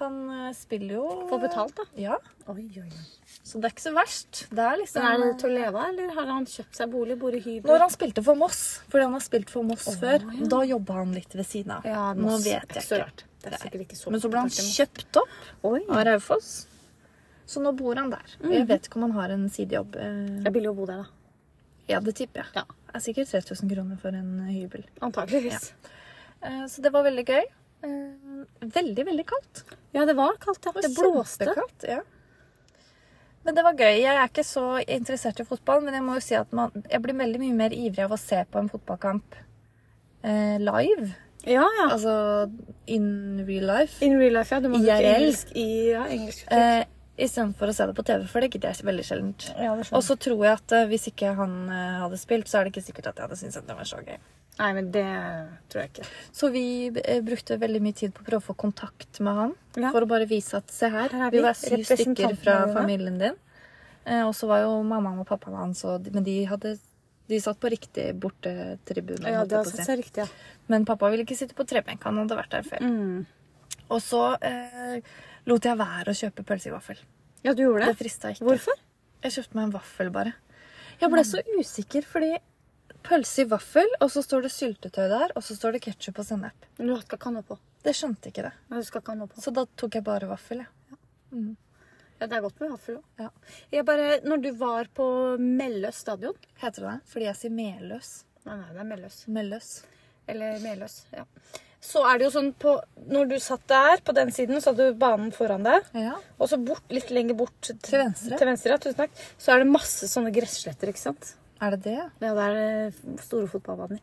[SPEAKER 2] Han eh, spiller jo
[SPEAKER 1] Får betalt, da.
[SPEAKER 2] Ja,
[SPEAKER 1] Oi, oi, oi.
[SPEAKER 2] så det er ikke så verst. Det er liksom
[SPEAKER 1] Men er det til å leve av, eller har han kjøpt seg bolig? Bor i hybel?
[SPEAKER 2] Når han spilte for Moss, fordi han har spilt for Moss før, da jobba han litt ved siden av.
[SPEAKER 1] Ja,
[SPEAKER 2] Nå
[SPEAKER 1] Moss
[SPEAKER 2] vet
[SPEAKER 1] er
[SPEAKER 2] jeg
[SPEAKER 1] ikke så
[SPEAKER 2] ikke.
[SPEAKER 1] rart. Det er sikkert ikke så
[SPEAKER 2] Men så ble han
[SPEAKER 1] populært, men-
[SPEAKER 2] kjøpt opp
[SPEAKER 1] Oi.
[SPEAKER 2] av Raufoss, Mm. så nå bor han der. Jeg vet ikke om han har en sidejobb. eh,
[SPEAKER 1] Det er billig å bo der, da.
[SPEAKER 2] Ja, det tipper jeg.
[SPEAKER 1] Ja.
[SPEAKER 2] Det er sikkert 3000 kroner for en eh, hybel.
[SPEAKER 1] Antakeligvis.
[SPEAKER 2] Eh, Så det var veldig gøy. Eh, Veldig, veldig kaldt.
[SPEAKER 1] Ja. det var kaldt, ja. Det blåste.
[SPEAKER 2] Kjempekaldt, ja. Men det var gøy. Jeg er ikke så interessert i fotball, men jeg må jo si at man, jeg blir veldig mye mer ivrig av å se på en fotballkamp eh, live.
[SPEAKER 1] Ja, ja.
[SPEAKER 2] Altså in real life.
[SPEAKER 1] In real life, ja. Du må bruke
[SPEAKER 2] IRL.
[SPEAKER 1] engelsk i ja, engelsk.
[SPEAKER 2] Eh, Istedenfor å se det på TV, for det gidder jeg veldig sjeldent.
[SPEAKER 1] Ja, det skjønner jeg.
[SPEAKER 2] Og så tror jeg at eh, hvis ikke han eh, hadde spilt, så er det ikke sikkert at jeg hadde syntes at det var så gøy.
[SPEAKER 1] Nei, men det tror jeg ikke.
[SPEAKER 2] Så vi eh, brukte veldig mye tid på å prøve å få kontakt med han.
[SPEAKER 1] Ja.
[SPEAKER 2] For å bare vise at se her,
[SPEAKER 1] Her er
[SPEAKER 2] vi
[SPEAKER 1] vi,
[SPEAKER 2] var syv stykker fra
[SPEAKER 1] representantene dine.
[SPEAKER 2] familien din. Eh, og så var jo mammaen og pappaen hans, og de- men de, hadde, de satt på riktig bortetribune.
[SPEAKER 1] Ja,
[SPEAKER 2] holdt
[SPEAKER 1] det
[SPEAKER 2] jeg
[SPEAKER 1] har
[SPEAKER 2] på å
[SPEAKER 1] satt
[SPEAKER 2] si.
[SPEAKER 1] seg riktig, ja.
[SPEAKER 2] Men pappa ville ikke sitte på trebenk, han hadde vært der før.
[SPEAKER 1] Mm.
[SPEAKER 2] Og så eh, lot jeg være å kjøpe pølse i vaffel.
[SPEAKER 1] Ja, du gjorde
[SPEAKER 2] Det
[SPEAKER 1] det?
[SPEAKER 2] frista ikke.
[SPEAKER 1] Hvorfor?
[SPEAKER 2] Jeg kjøpte meg en vaffel bare. Jeg ble så usikker fordi pølse i vaffel, og så står det syltetøy der, og så står det ketsjup og sennep.
[SPEAKER 1] Men du skal ikke ha noe på.
[SPEAKER 2] Det skjønte ikke det.
[SPEAKER 1] Nei, du skal ikke ha noe på.
[SPEAKER 2] Så da tok jeg bare vaffel, jeg.
[SPEAKER 1] Ja, det er godt med vaffel òg.
[SPEAKER 2] Ja.
[SPEAKER 1] Jeg bare Når du var på Melløs stadion
[SPEAKER 2] Heter det det? Fordi jeg sier melløs.
[SPEAKER 1] Nei, nei, det er Melløs.
[SPEAKER 2] Melløs.
[SPEAKER 1] Eller Meløs. Ja. Så er det jo sånn på Når du satt der, på den siden, så hadde du banen foran deg.
[SPEAKER 2] Ja.
[SPEAKER 1] Og så bort, litt lenger bort til,
[SPEAKER 2] venstre.
[SPEAKER 1] til venstre ja, tusen takk, så er det masse sånne gressletter, ikke sant?
[SPEAKER 2] Er det det?
[SPEAKER 1] Ja, det er eh, store fotballbaner.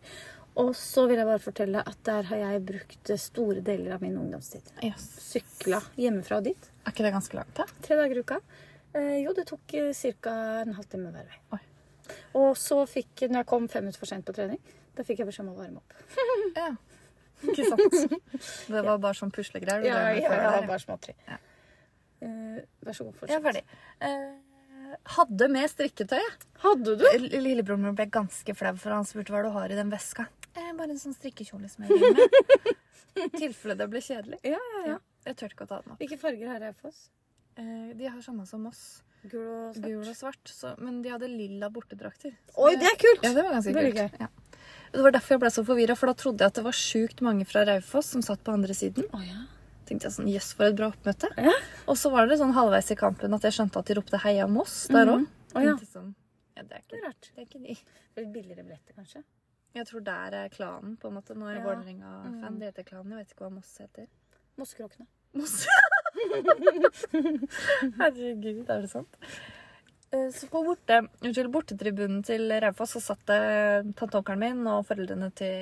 [SPEAKER 1] Og så vil jeg bare fortelle at der har jeg brukt store deler av min ungdomstid.
[SPEAKER 2] Yes.
[SPEAKER 1] Sykla hjemmefra og dit.
[SPEAKER 2] Er ikke det ganske langt, da?
[SPEAKER 1] Tre dager i uka. Eh, jo, det tok eh, ca. en halvtime hver vei.
[SPEAKER 2] Oi.
[SPEAKER 1] Og så fikk, når jeg kom fem minutter for sent på trening, da fikk jeg beskjed om å varme opp.
[SPEAKER 2] Ja. Ikke sant? Det var bare sånn puslegreier. du
[SPEAKER 1] Ja,
[SPEAKER 2] drev med
[SPEAKER 1] ja,
[SPEAKER 2] før
[SPEAKER 1] ja,
[SPEAKER 2] der, ja. sånn
[SPEAKER 1] bare småtteri.
[SPEAKER 2] Ja.
[SPEAKER 1] Eh, vær så god, fortsett.
[SPEAKER 2] Jeg er ferdig. Eh, hadde med strikketøy. jeg.
[SPEAKER 1] Hadde du?
[SPEAKER 2] L- Lillebroren min ble ganske flau, for han spurte hva du har i den veska. Eh, bare en sånn strikkekjole som jeg driver med. I tilfelle det ble kjedelig.
[SPEAKER 1] Ja, ja, ja.
[SPEAKER 2] Jeg tør ikke å ta den opp.
[SPEAKER 1] Hvilke farger har jeg for oss?
[SPEAKER 2] Eh, de har samme som oss.
[SPEAKER 1] Gul og svart.
[SPEAKER 2] Gul og svart. Så, men de hadde lilla bortedrakter. Så
[SPEAKER 1] Oi, det er kult!
[SPEAKER 2] Ja, det var ganske
[SPEAKER 1] Veldig
[SPEAKER 2] kult. Ja. Det var derfor jeg ble så forvirra, for da trodde jeg at det var sjukt mange fra Raufoss som satt på andre siden.
[SPEAKER 1] Å, ja.
[SPEAKER 2] Tenkte jeg sånn, jøss, for et bra oppmøte.
[SPEAKER 1] Ja.
[SPEAKER 2] Og så var det sånn halvveis i kampen at jeg skjønte at de ropte 'Heia Moss' der òg.
[SPEAKER 1] Mhm. Å, ja.
[SPEAKER 2] sånn, ja, det er
[SPEAKER 1] Det
[SPEAKER 2] ikke
[SPEAKER 1] er rart.
[SPEAKER 2] det er ikke de.
[SPEAKER 1] Litt billigere billetter, kanskje.
[SPEAKER 2] Jeg tror der er klanen, på en måte. Nå er
[SPEAKER 1] Ja. Mm.
[SPEAKER 2] jeg Vålerenga-fan. Det heter klanen. Jeg vet ikke hva Moss heter.
[SPEAKER 1] Mossekråkene.
[SPEAKER 2] Moss. Herregud, er det sant? Eh, Så på borte, unnskyld, bortetribunen til Raufoss så satt det tanteonkelen min og foreldrene til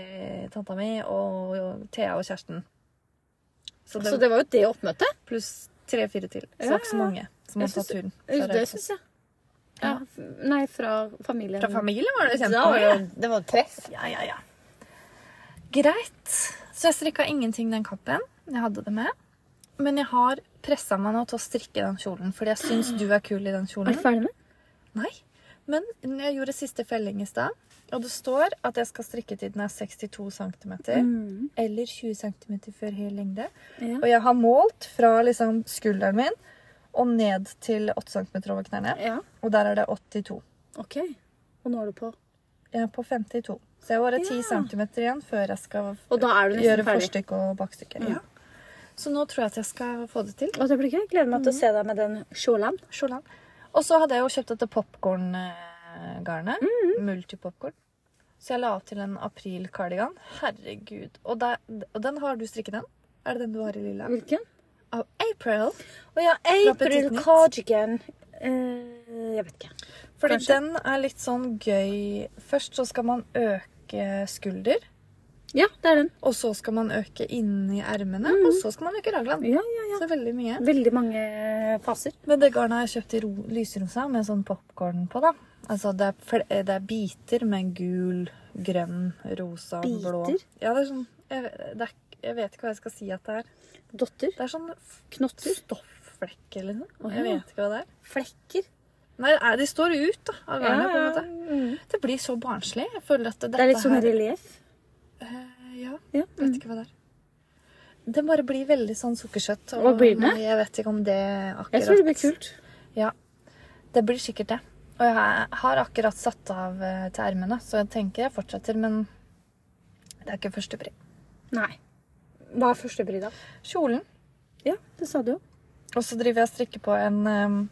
[SPEAKER 2] tanta mi og Thea og kjæresten. Så det,
[SPEAKER 1] Så det var jo det oppmøtet.
[SPEAKER 2] pluss tre-fire til. Så det
[SPEAKER 1] Ja,
[SPEAKER 2] var ikke så
[SPEAKER 1] ja.
[SPEAKER 2] mange som
[SPEAKER 1] Jeg
[SPEAKER 2] hadde tatt
[SPEAKER 1] synes-
[SPEAKER 2] turen.
[SPEAKER 1] Det
[SPEAKER 2] fra Raufoss.
[SPEAKER 1] syns jeg. Ja, f- nei, fra familien.
[SPEAKER 2] Fra familien var det
[SPEAKER 1] Da var det,
[SPEAKER 2] kjempemange.
[SPEAKER 1] jo- det var et treff.
[SPEAKER 2] Ja, ja, ja. Greit. Så jeg strikka ingenting den kappen. Jeg hadde det med. Men jeg har pressa meg nå til å strikke den kjolen, fordi jeg syns du er kul i den kjolen.
[SPEAKER 1] ferdig med?
[SPEAKER 2] Nei. Men når jeg gjorde siste felling i stad, og det står at jeg skal strikke til den er 62 cm, eller 20 cm før hel lengde,
[SPEAKER 1] Mm. Ja.
[SPEAKER 2] og jeg har målt fra liksom skulderen min og ned til 8 cm over knærne,
[SPEAKER 1] Ja,
[SPEAKER 2] og der er det 82.
[SPEAKER 1] OK. Og nå er du på.
[SPEAKER 2] Jeg er på 52. Så jeg har bare 10
[SPEAKER 1] Ja.
[SPEAKER 2] cm igjen før jeg skal
[SPEAKER 1] Og da er du nesten
[SPEAKER 2] gjøre
[SPEAKER 1] ferdig.
[SPEAKER 2] forstykke og bakstykke. Ja. Så nå tror jeg at jeg skal få det til.
[SPEAKER 1] Og det blir gøy. Gleder meg til å se deg med den kjolen.
[SPEAKER 2] Sjolan. Og så hadde jeg jo kjøpt dette popkorngarnet.
[SPEAKER 1] Mhm.
[SPEAKER 2] Multipopkorn. Så jeg la opp til en april-kardigan. Herregud. Og, der, og den har du strikket den? Er det den du har i lilla?
[SPEAKER 1] Hvilken?
[SPEAKER 2] Av April.
[SPEAKER 1] Å ja, April
[SPEAKER 2] Petit Nytt.
[SPEAKER 1] Cardigan. Eh, jeg vet ikke.
[SPEAKER 2] Fordi
[SPEAKER 1] Kanskje.
[SPEAKER 2] den er litt sånn gøy. Først så skal man øke skulder.
[SPEAKER 1] Ja, det er den.
[SPEAKER 2] Og så skal man øke inni ermene. Og så skal man øke raglan.
[SPEAKER 1] Mhm. Ja, ja, ja.
[SPEAKER 2] Så veldig mye.
[SPEAKER 1] Veldig mange faser.
[SPEAKER 2] Men det garnet har jeg kjøpt i ro lyserosa med sånn popkorn på, da. Altså det er, fl- det er biter med gul, grønn, rosa, blå
[SPEAKER 1] Biter?
[SPEAKER 2] Ja, det er sånn jeg, vet- det er, ikke- jeg vet ikke hva jeg skal si at det er.
[SPEAKER 1] Dotter.
[SPEAKER 2] Det er sånn f-
[SPEAKER 1] Knotter.
[SPEAKER 2] stoffflekker, liksom.
[SPEAKER 1] Å, ja.
[SPEAKER 2] Jeg vet ikke hva det er.
[SPEAKER 1] Flekker.
[SPEAKER 2] Nei, nei, de står ut da, av garnet, på en måte.
[SPEAKER 1] Mm.
[SPEAKER 2] Det blir så barnslig. Jeg føler at dette
[SPEAKER 1] Det er litt sånn
[SPEAKER 2] her
[SPEAKER 1] relieff.
[SPEAKER 2] Eh, Ja,
[SPEAKER 1] Ja.
[SPEAKER 2] vet ikke hva det er. Den bare blir veldig sånn sukkersøtt.
[SPEAKER 1] Hva blir den?
[SPEAKER 2] nei, Jeg vet ikke om det akkurat
[SPEAKER 1] Jeg tror det blir kult.
[SPEAKER 2] Ja. Det blir sikkert det. Og jeg har akkurat satt av eh, til ermene, så jeg tenker jeg fortsetter, men det er ikke første pri.
[SPEAKER 1] Nei. Hva er første bry, da?
[SPEAKER 2] Kjolen.
[SPEAKER 1] Ja, det sa du jo.
[SPEAKER 2] Og så driver jeg og strikker på en em,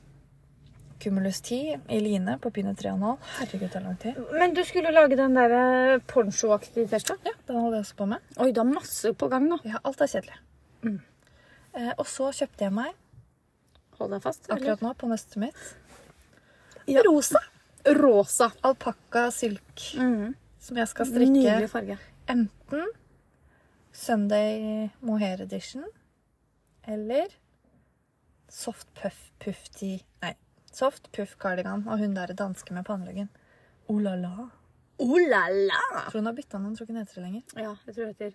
[SPEAKER 2] Cumulus 10 i line på pinne 3,5. Herregud, det er lang tid.
[SPEAKER 1] Men du skulle lage den der eh, ponchoaktige T-skjorta?
[SPEAKER 2] Ja, den holder jeg også på med.
[SPEAKER 1] Oi, du har masse på gang nå.
[SPEAKER 2] Ja, alt er kjedelig. Eh, og så kjøpte jeg meg
[SPEAKER 1] Hold deg fast. eller?
[SPEAKER 2] akkurat nå på nøstet mitt
[SPEAKER 1] Ja.
[SPEAKER 2] rosa
[SPEAKER 1] Rosa.
[SPEAKER 2] alpakka silk som jeg skal strikke
[SPEAKER 1] Mm. Nydelig farge.
[SPEAKER 2] enten Sunday Mohair Edition eller Soft Puff Puff Tee. Nei, Soft Puff Cardigan og hun der danske med panneluggen. Oh la la.
[SPEAKER 1] Oh la la!
[SPEAKER 2] Tror hun har bytta navn, tror ikke hun heter det lenger.
[SPEAKER 1] Ja, jeg tror det heter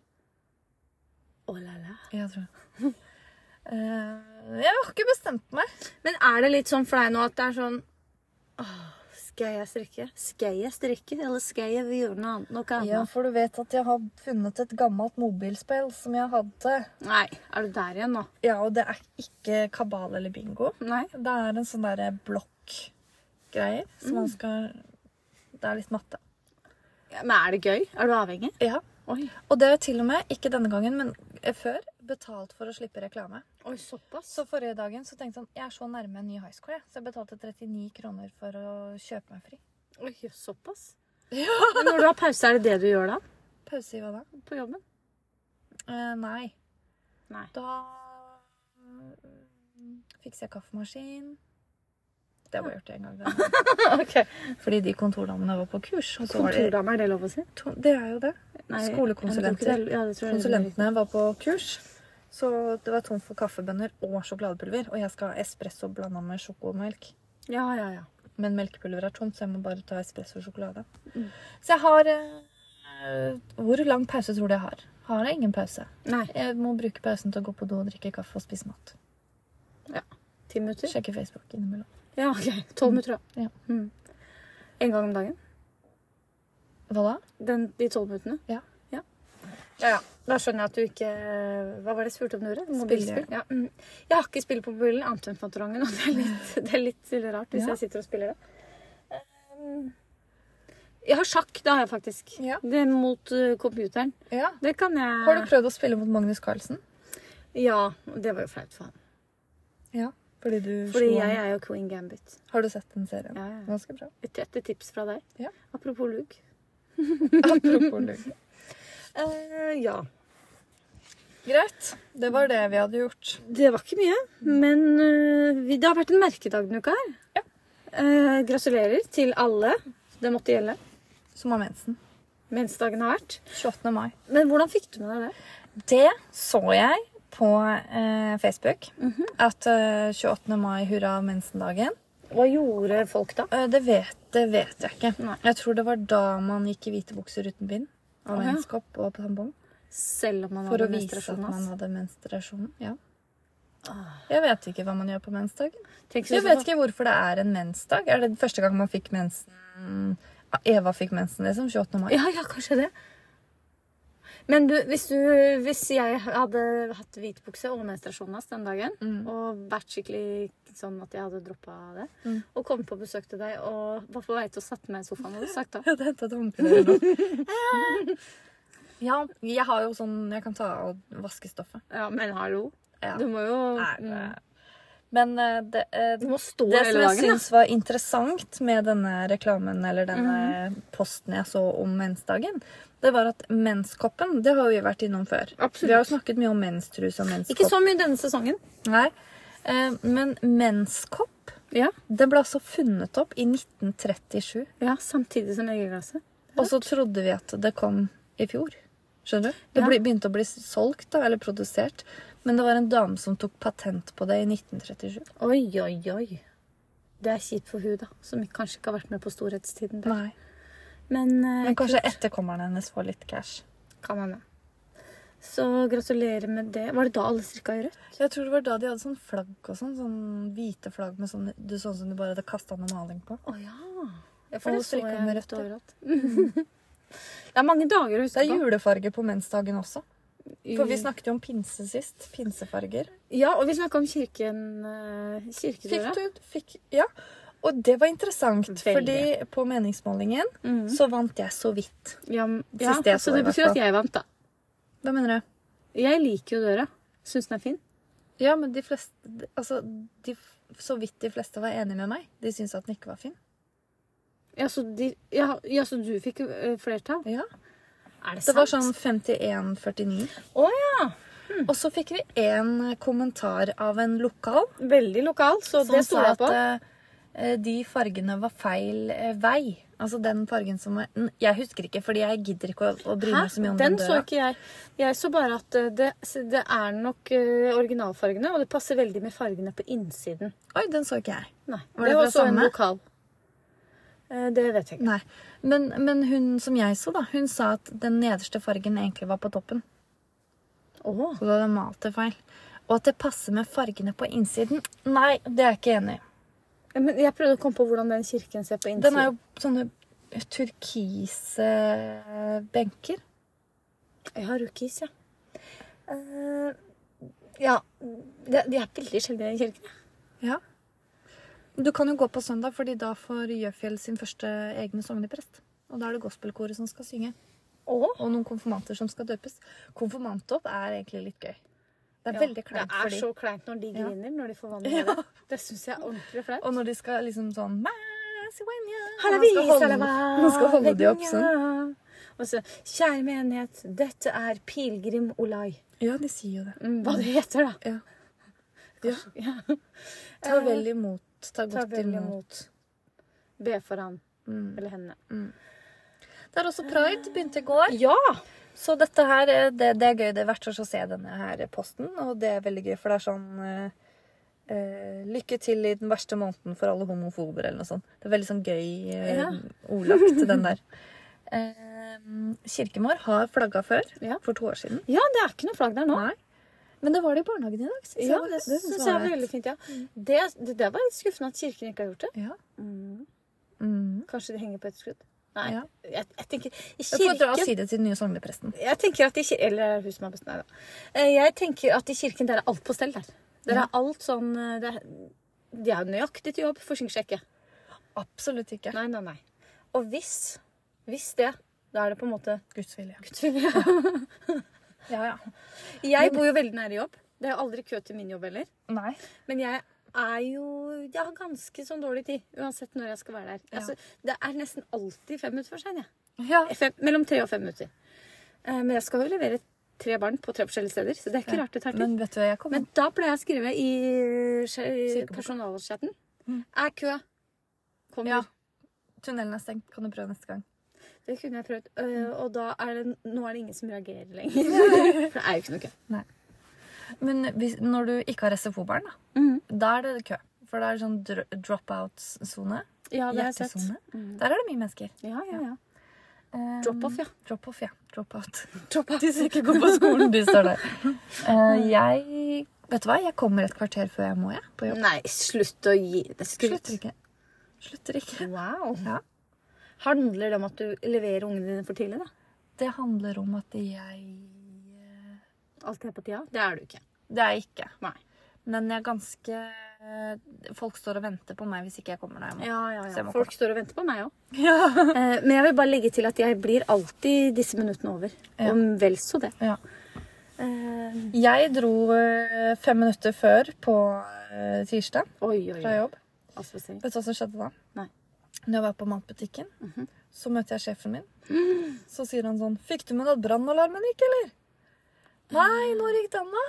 [SPEAKER 1] Oh la la.
[SPEAKER 2] Jeg tror Eh, Jeg har ikke bestemt meg.
[SPEAKER 1] Men er det litt sånn for deg nå at det er sånn «Åh, Skal jeg strikke? Skal jeg strikke, eller skal jeg gjøre noe annet? Noe annet?
[SPEAKER 2] Ja, for du vet at jeg har funnet et gammelt mobilspill som jeg hadde.
[SPEAKER 1] Nei, er du der igjen nå?
[SPEAKER 2] Ja, og det er ikke kabal eller bingo.
[SPEAKER 1] Nei.
[SPEAKER 2] Det er en sånn derre blokk-greier som man skal Det er litt matte.
[SPEAKER 1] Ja, Men er det gøy? Er du avhengig?
[SPEAKER 2] Ja.
[SPEAKER 1] Oi,
[SPEAKER 2] Og det er til og med, ikke denne gangen, men eh, før, betalt for å slippe reklame.
[SPEAKER 1] Oi såpass.
[SPEAKER 2] Så forrige dagen så tenkte jeg sånn Jeg er så nærme en ny high score, jeg. Så jeg betalte 39 kroner for å kjøpe meg fri.
[SPEAKER 1] Oi, jøss, såpass. Men når du har pause, er det det du gjør da?
[SPEAKER 2] Pause i hva da?
[SPEAKER 1] På jobben?
[SPEAKER 2] Eh, nei.
[SPEAKER 1] Nei.
[SPEAKER 2] Da mm, fikser jeg kaffemaskin. Det har jeg bare gjort én gang. da.
[SPEAKER 1] ok.
[SPEAKER 2] Fordi de kontordamene var på kurs. Og så var det,
[SPEAKER 1] Kontordame, er det lov å si?
[SPEAKER 2] to, det er jo det.
[SPEAKER 1] Nei,
[SPEAKER 2] Skolekonsulenter.
[SPEAKER 1] jeg tror ikke det er- Ja, det tror jeg
[SPEAKER 2] Konsulentene var på kurs, så det var tomt for kaffebønner og sjokoladepulver. Og jeg skal ha espresso blanda med sjokomelk.
[SPEAKER 1] Ja, ja, ja.
[SPEAKER 2] Men melkepulver er tomt, så jeg må bare ta espresso og sjokolade.
[SPEAKER 1] Mm.
[SPEAKER 2] Så jeg har eh, Hvor lang pause tror du jeg har? Har jeg ingen pause?
[SPEAKER 1] Nei.
[SPEAKER 2] Jeg må bruke pausen til å gå på do og drikke kaffe og spise mat.
[SPEAKER 1] Ja. Ti minutter?
[SPEAKER 2] Sjekke Facebook innimellom.
[SPEAKER 1] Ja, ok. Tolv minutter, da.
[SPEAKER 2] Ja.
[SPEAKER 1] Mm. En gang om dagen?
[SPEAKER 2] Hva da?
[SPEAKER 1] Den, de tolv minuttene?
[SPEAKER 2] Ja.
[SPEAKER 1] ja. Ja, ja. Da skjønner jeg at du ikke Hva var det jeg spurte om du gjorde? Mobilspill? Ja. Mm. Jeg har ikke spill på mobilen annet enn Fantorangen, og det er litt, det er litt stille rart hvis
[SPEAKER 2] Ja.
[SPEAKER 1] jeg sitter og spiller det. Um, Jeg har sjakk, det har jeg faktisk.
[SPEAKER 2] Ja.
[SPEAKER 1] Det er mot uh, computeren.
[SPEAKER 2] Ja.
[SPEAKER 1] Det kan jeg
[SPEAKER 2] Har du prøvd å spille mot Magnus Carlsen?
[SPEAKER 1] Ja. Det var jo flaut for han.
[SPEAKER 2] Ja. Fordi du
[SPEAKER 1] Fordi
[SPEAKER 2] slo
[SPEAKER 1] jeg
[SPEAKER 2] ham.
[SPEAKER 1] er jo Queen Gambit.
[SPEAKER 2] Har du sett den serien?
[SPEAKER 1] Ja, ja.
[SPEAKER 2] Ganske bra.
[SPEAKER 1] Et, et tips fra deg.
[SPEAKER 2] Ja.
[SPEAKER 1] Apropos lugg.
[SPEAKER 2] Apropos lugg.
[SPEAKER 1] Eh, ja.
[SPEAKER 2] Greit. Det var det vi hadde gjort.
[SPEAKER 1] Det var ikke mye, men øh, vi, det har vært en merkedag denne uka her.
[SPEAKER 2] Ja.
[SPEAKER 1] Eh, gratulerer til alle. Det måtte gjelde.
[SPEAKER 2] Som har mensen.
[SPEAKER 1] Mensdagen har vært.
[SPEAKER 2] 28. mai.
[SPEAKER 1] Men hvordan fikk du med deg det?
[SPEAKER 2] Det så jeg på eh, Facebook.
[SPEAKER 1] Mhm.
[SPEAKER 2] At eh, 28. mai, hurra mensen-dagen.
[SPEAKER 1] Hva gjorde folk da?
[SPEAKER 2] Eh, det, vet, det vet jeg ikke.
[SPEAKER 1] Nei.
[SPEAKER 2] Jeg tror det var da man gikk i hvite bukser uten bind. Og
[SPEAKER 1] Å, ja.
[SPEAKER 2] menskopp og tampong.
[SPEAKER 1] Selv om man
[SPEAKER 2] For å
[SPEAKER 1] hadde
[SPEAKER 2] vise at
[SPEAKER 1] menstruasjon.
[SPEAKER 2] man
[SPEAKER 1] ass.
[SPEAKER 2] hadde menstruasjon. Ja. Jeg vet ikke hva man gjør på mensdagen.
[SPEAKER 1] Tenk så-
[SPEAKER 2] Jeg vet ikke hvorfor det er en mensdag. Er det første gang man fikk mensen Ah, Eva fikk mensen, liksom. 28. mai.
[SPEAKER 1] Ja, ja, kanskje det. Men du, hvis, du, hvis jeg hadde hatt hvit bukse og menstruasjon ass, den dagen, og vært skikkelig sånn at jeg hadde droppa det, og kommet på besøk til deg og var på vei til å sette meg i sofaen, hva hadde du sagt da?
[SPEAKER 2] Jeg hadde hentet håndkle eller noe. Ja, jeg har jo sånn Jeg kan ta og vaske stoffet.
[SPEAKER 1] Ja, men hallo.
[SPEAKER 2] Ja.
[SPEAKER 1] Du må jo
[SPEAKER 2] Nei,
[SPEAKER 1] mm.
[SPEAKER 2] det- Men eh, det, eh,
[SPEAKER 1] Du må stå
[SPEAKER 2] det som
[SPEAKER 1] hele
[SPEAKER 2] jeg
[SPEAKER 1] dagen. da.
[SPEAKER 2] syns var interessant med denne reklamen, eller denne
[SPEAKER 1] Mhm.
[SPEAKER 2] posten jeg så om mensdagen, det var at menskoppen, det har vi vært innom før.
[SPEAKER 1] Absolutt.
[SPEAKER 2] Vi har jo snakket mye om menstrus og menskopp.
[SPEAKER 1] Ikke så mye denne sesongen.
[SPEAKER 2] Nei. Eh, Men menskopp,
[SPEAKER 1] Ja,
[SPEAKER 2] den ble altså funnet opp i 1937.
[SPEAKER 1] ja Samtidig som egeglasset.
[SPEAKER 2] Og så trodde vi at det kom i fjor. Skjønner du? Det
[SPEAKER 1] Ja.
[SPEAKER 2] ble- begynte å bli solgt, da, eller produsert. Men det var en dame som tok patent på det i 1937.
[SPEAKER 1] Oi, oi, oi. Det er kjipt for hun da, som kanskje ikke har vært med på storhetstiden. Der.
[SPEAKER 2] Nei.
[SPEAKER 1] Men, eh,
[SPEAKER 2] Men kanskje etterkommerne hennes får litt cash.
[SPEAKER 1] kan hende. Så gratulerer med det. Var det da alle strikka i rødt?
[SPEAKER 2] Jeg tror det var da de hadde sånn flagg og sånn. Sånn hvite flagg med sånn du sånn som du bare hadde kasta noe maling på.
[SPEAKER 1] Å ja. ja.
[SPEAKER 2] Alle strikka med rødt, ja.
[SPEAKER 1] overalt. det er mange dager å
[SPEAKER 2] Det
[SPEAKER 1] huske
[SPEAKER 2] er
[SPEAKER 1] på.
[SPEAKER 2] julefarge på mensdagen også. For vi snakket jo om pinse sist. Pinsefarger.
[SPEAKER 1] Ja, og vi snakka om kirken eh,
[SPEAKER 2] Fikk
[SPEAKER 1] kirkedøra.
[SPEAKER 2] du fikk, Ja. Og det var interessant,
[SPEAKER 1] Veldig.
[SPEAKER 2] fordi på meningsmålingen så vant jeg så vidt.
[SPEAKER 1] Mm. Ja, men- ja,
[SPEAKER 2] Siste jeg så
[SPEAKER 1] så
[SPEAKER 2] i
[SPEAKER 1] det
[SPEAKER 2] hvert
[SPEAKER 1] betyr
[SPEAKER 2] fall.
[SPEAKER 1] at jeg vant, da.
[SPEAKER 2] Hva mener du?
[SPEAKER 1] Jeg liker jo døra. Syns den er fin.
[SPEAKER 2] Ja, men de fleste Altså, de, så vidt de fleste var enige med meg. De syntes at den ikke var fin.
[SPEAKER 1] Ja, så, de, ja, ja, så du fikk eh, flertall?
[SPEAKER 2] Ja.
[SPEAKER 1] Er
[SPEAKER 2] Det var sånn 51-49.
[SPEAKER 1] sånn- Å ja!
[SPEAKER 2] Og så fikk vi en kommentar av en lokal
[SPEAKER 1] Veldig lokal, så
[SPEAKER 2] som
[SPEAKER 1] det stoler
[SPEAKER 2] sa
[SPEAKER 1] jeg
[SPEAKER 2] at
[SPEAKER 1] på.
[SPEAKER 2] Sånn eh, de fargene var feil eh, vei. Altså den fargen som var N- Jeg husker ikke, fordi jeg gidder ikke å, å bry
[SPEAKER 1] Hæ?
[SPEAKER 2] meg så mye om
[SPEAKER 1] Den
[SPEAKER 2] den,
[SPEAKER 1] så
[SPEAKER 2] døra.
[SPEAKER 1] ikke jeg. Jeg så bare at eh, det, det er nok eh, originalfargene, og det passer veldig med fargene på innsiden.
[SPEAKER 2] Oi, den så ikke jeg.
[SPEAKER 1] Nei,
[SPEAKER 2] Var
[SPEAKER 1] det
[SPEAKER 2] det
[SPEAKER 1] var
[SPEAKER 2] fra
[SPEAKER 1] også en
[SPEAKER 2] samme?
[SPEAKER 1] lokal. Eh, Det vet jeg ikke.
[SPEAKER 2] Nei. Men, men hun som jeg så, da, hun sa at den nederste fargen egentlig var på toppen.
[SPEAKER 1] Åh.
[SPEAKER 2] Så da hadde jeg malt det feil. Og at det passer med fargene på innsiden. Nei, det er jeg ikke enig i.
[SPEAKER 1] Men jeg prøvde å komme på hvordan den kirken ser på innsiden.
[SPEAKER 2] Den er jo sånne turkise eh, benker.
[SPEAKER 1] Jeg har rookies, ja. Eh, ja. Det, de er veldig sjelden i den kirken.
[SPEAKER 2] Ja. Du kan jo gå på søndag, fordi da får Gjøfjell sin første egne sogneprest. Og da er det gospelkoret som skal synge.
[SPEAKER 1] Åh.
[SPEAKER 2] Og noen konfirmanter som skal døpes. Konfirmantdåp er egentlig litt gøy. Det er
[SPEAKER 1] Ja,
[SPEAKER 2] veldig kleint
[SPEAKER 1] Det
[SPEAKER 2] for
[SPEAKER 1] er
[SPEAKER 2] dem.
[SPEAKER 1] så kleint når de griner når de får vann i øret. Det syns jeg er ordentlig flaut.
[SPEAKER 2] Og når de skal liksom sånn Macedonia,
[SPEAKER 1] Han
[SPEAKER 2] man skal holde- Man skal holde de opp sånn.
[SPEAKER 1] Og så Kjære menighet, dette er pilegrim Olai.
[SPEAKER 2] Ja, de sier jo det.
[SPEAKER 1] Mm, Hva det heter, da.
[SPEAKER 2] Ja.
[SPEAKER 1] Ja.
[SPEAKER 2] Ta vel imot. Ta
[SPEAKER 1] Eh, Ta
[SPEAKER 2] godt
[SPEAKER 1] vel
[SPEAKER 2] imot.
[SPEAKER 1] imot. Be for han
[SPEAKER 2] Mm.
[SPEAKER 1] eller henne.
[SPEAKER 2] Det er også pride. Begynte i går.
[SPEAKER 1] Ja!
[SPEAKER 2] Så dette her, eh, det, det er gøy. Det er hvert år så ser jeg denne her posten, og det er veldig gøy, for det er sånn eh, eh, Lykke til i den verste måneden for alle homofober, eller noe sånt. Det er veldig sånn gøy eh,
[SPEAKER 1] Ja.
[SPEAKER 2] ordlagt, den der. Eh, kirken vår har flagga før,
[SPEAKER 1] Ja.
[SPEAKER 2] for to år siden.
[SPEAKER 1] Ja, det er ikke noe flagg der nå.
[SPEAKER 2] Nei. Men det var det i barnehagen i dag. synes jeg
[SPEAKER 1] Ja,
[SPEAKER 2] var-
[SPEAKER 1] det
[SPEAKER 2] synes
[SPEAKER 1] syns jeg
[SPEAKER 2] var Mm.
[SPEAKER 1] er
[SPEAKER 2] ålreit.
[SPEAKER 1] veldig fint. ja. Det, det der var litt skuffende at kirken ikke har gjort det.
[SPEAKER 2] Ja.
[SPEAKER 1] Mm.
[SPEAKER 2] Mm.
[SPEAKER 1] Kanskje de henger på et skudd? Nei.
[SPEAKER 2] Ja.
[SPEAKER 1] Jeg, jeg tenker i
[SPEAKER 2] Jeg får dra og
[SPEAKER 1] kirken
[SPEAKER 2] si det til den nye sognepresten.
[SPEAKER 1] jeg tenker at i kirken, Eller hun som har bestemt det. Jeg tenker at i kirken der er alt på stell der. Der
[SPEAKER 2] Ja.
[SPEAKER 1] er alt sånn eh, det, er- De er nøyaktig til jobb, forsinker seg ikke.
[SPEAKER 2] Absolutt ikke.
[SPEAKER 1] Nei, nei, nei. Og hvis, hvis det, da er det på en måte
[SPEAKER 2] Guds vilje.
[SPEAKER 1] Guds vilje.
[SPEAKER 2] Ja, ja.
[SPEAKER 1] Jeg bor jo veldig nære jobb. Det er aldri kø til min jobb heller.
[SPEAKER 2] Nei.
[SPEAKER 1] Men jeg er jo Jeg har ganske sånn dårlig tid, uansett når jeg skal være der.
[SPEAKER 2] Ja.
[SPEAKER 1] Altså, det er nesten alltid fem minutter for sein, jeg. Eh,
[SPEAKER 2] Ja.
[SPEAKER 1] Fem, mellom tre og fem minutter. Eh, Men jeg skal jo levere tre barn på tre forskjellige steder, så det er ikke
[SPEAKER 2] Ja.
[SPEAKER 1] rart det tar tid. Men,
[SPEAKER 2] Men vet du hva, jeg kommer
[SPEAKER 1] da pleier jeg å skrive i skje-
[SPEAKER 2] Kirkeboka.
[SPEAKER 1] personalchatten
[SPEAKER 2] Mm.
[SPEAKER 1] Er kø. Kommer.
[SPEAKER 2] Ja. Tunnelen er stengt. Kan du prøve neste gang?
[SPEAKER 1] Det kunne jeg prøvd. Eh, Og da er det, nå er det ingen som reagerer lenger. For det er jo ikke noe kø.
[SPEAKER 2] Men hvis, når du ikke har SFO-barn, da,
[SPEAKER 1] Mm.
[SPEAKER 2] da er det kø. For da er det sånn dr drop-out-sone.
[SPEAKER 1] Ja, det har jeg sett.
[SPEAKER 2] Hjertesone.
[SPEAKER 1] Mm.
[SPEAKER 2] Der er det mye mennesker.
[SPEAKER 1] Ja, ja, ja.
[SPEAKER 2] Um,
[SPEAKER 1] Drop-off, ja.
[SPEAKER 2] Drop-off, ja. Drop-out.
[SPEAKER 1] Drop out.
[SPEAKER 2] De som ikke går på skolen, de står der. Eh, jeg Vet du hva, jeg kommer et kvarter før jeg må, jeg. På jobb.
[SPEAKER 1] Nei, slutt å gi det skryt.
[SPEAKER 2] Slutter ikke. Slutter ikke.
[SPEAKER 1] Wow.
[SPEAKER 2] Ja.
[SPEAKER 1] Handler det om at du leverer ungene dine for tidlig, da?
[SPEAKER 2] Det handler om at jeg
[SPEAKER 1] Alt er på tida? Det er du ikke.
[SPEAKER 2] Det er jeg ikke.
[SPEAKER 1] Nei.
[SPEAKER 2] Men jeg er ganske Folk står og venter på meg hvis ikke jeg kommer da jeg må.
[SPEAKER 1] Ja, ja,
[SPEAKER 2] Så
[SPEAKER 1] ja.
[SPEAKER 2] jeg må
[SPEAKER 1] Folk
[SPEAKER 2] komme.
[SPEAKER 1] står og venter på meg òg.
[SPEAKER 2] Ja.
[SPEAKER 1] Eh, Men jeg vil bare legge til at jeg blir alltid disse minuttene over.
[SPEAKER 2] Ja.
[SPEAKER 1] Om vel så det.
[SPEAKER 2] Ja.
[SPEAKER 1] Eh,
[SPEAKER 2] Jeg dro eh, fem minutter før på eh, tirsdag
[SPEAKER 1] oi, oi, Altså,
[SPEAKER 2] fra
[SPEAKER 1] oi.
[SPEAKER 2] jobb.
[SPEAKER 1] Avspasering.
[SPEAKER 2] Vet du hva som skjedde da?
[SPEAKER 1] Nei.
[SPEAKER 2] Når jeg var på matbutikken, så møtte jeg sjefen min. Så sier han sånn 'Fikk du med deg at brannalarmen gikk, eller?' Nei, når gikk den, da?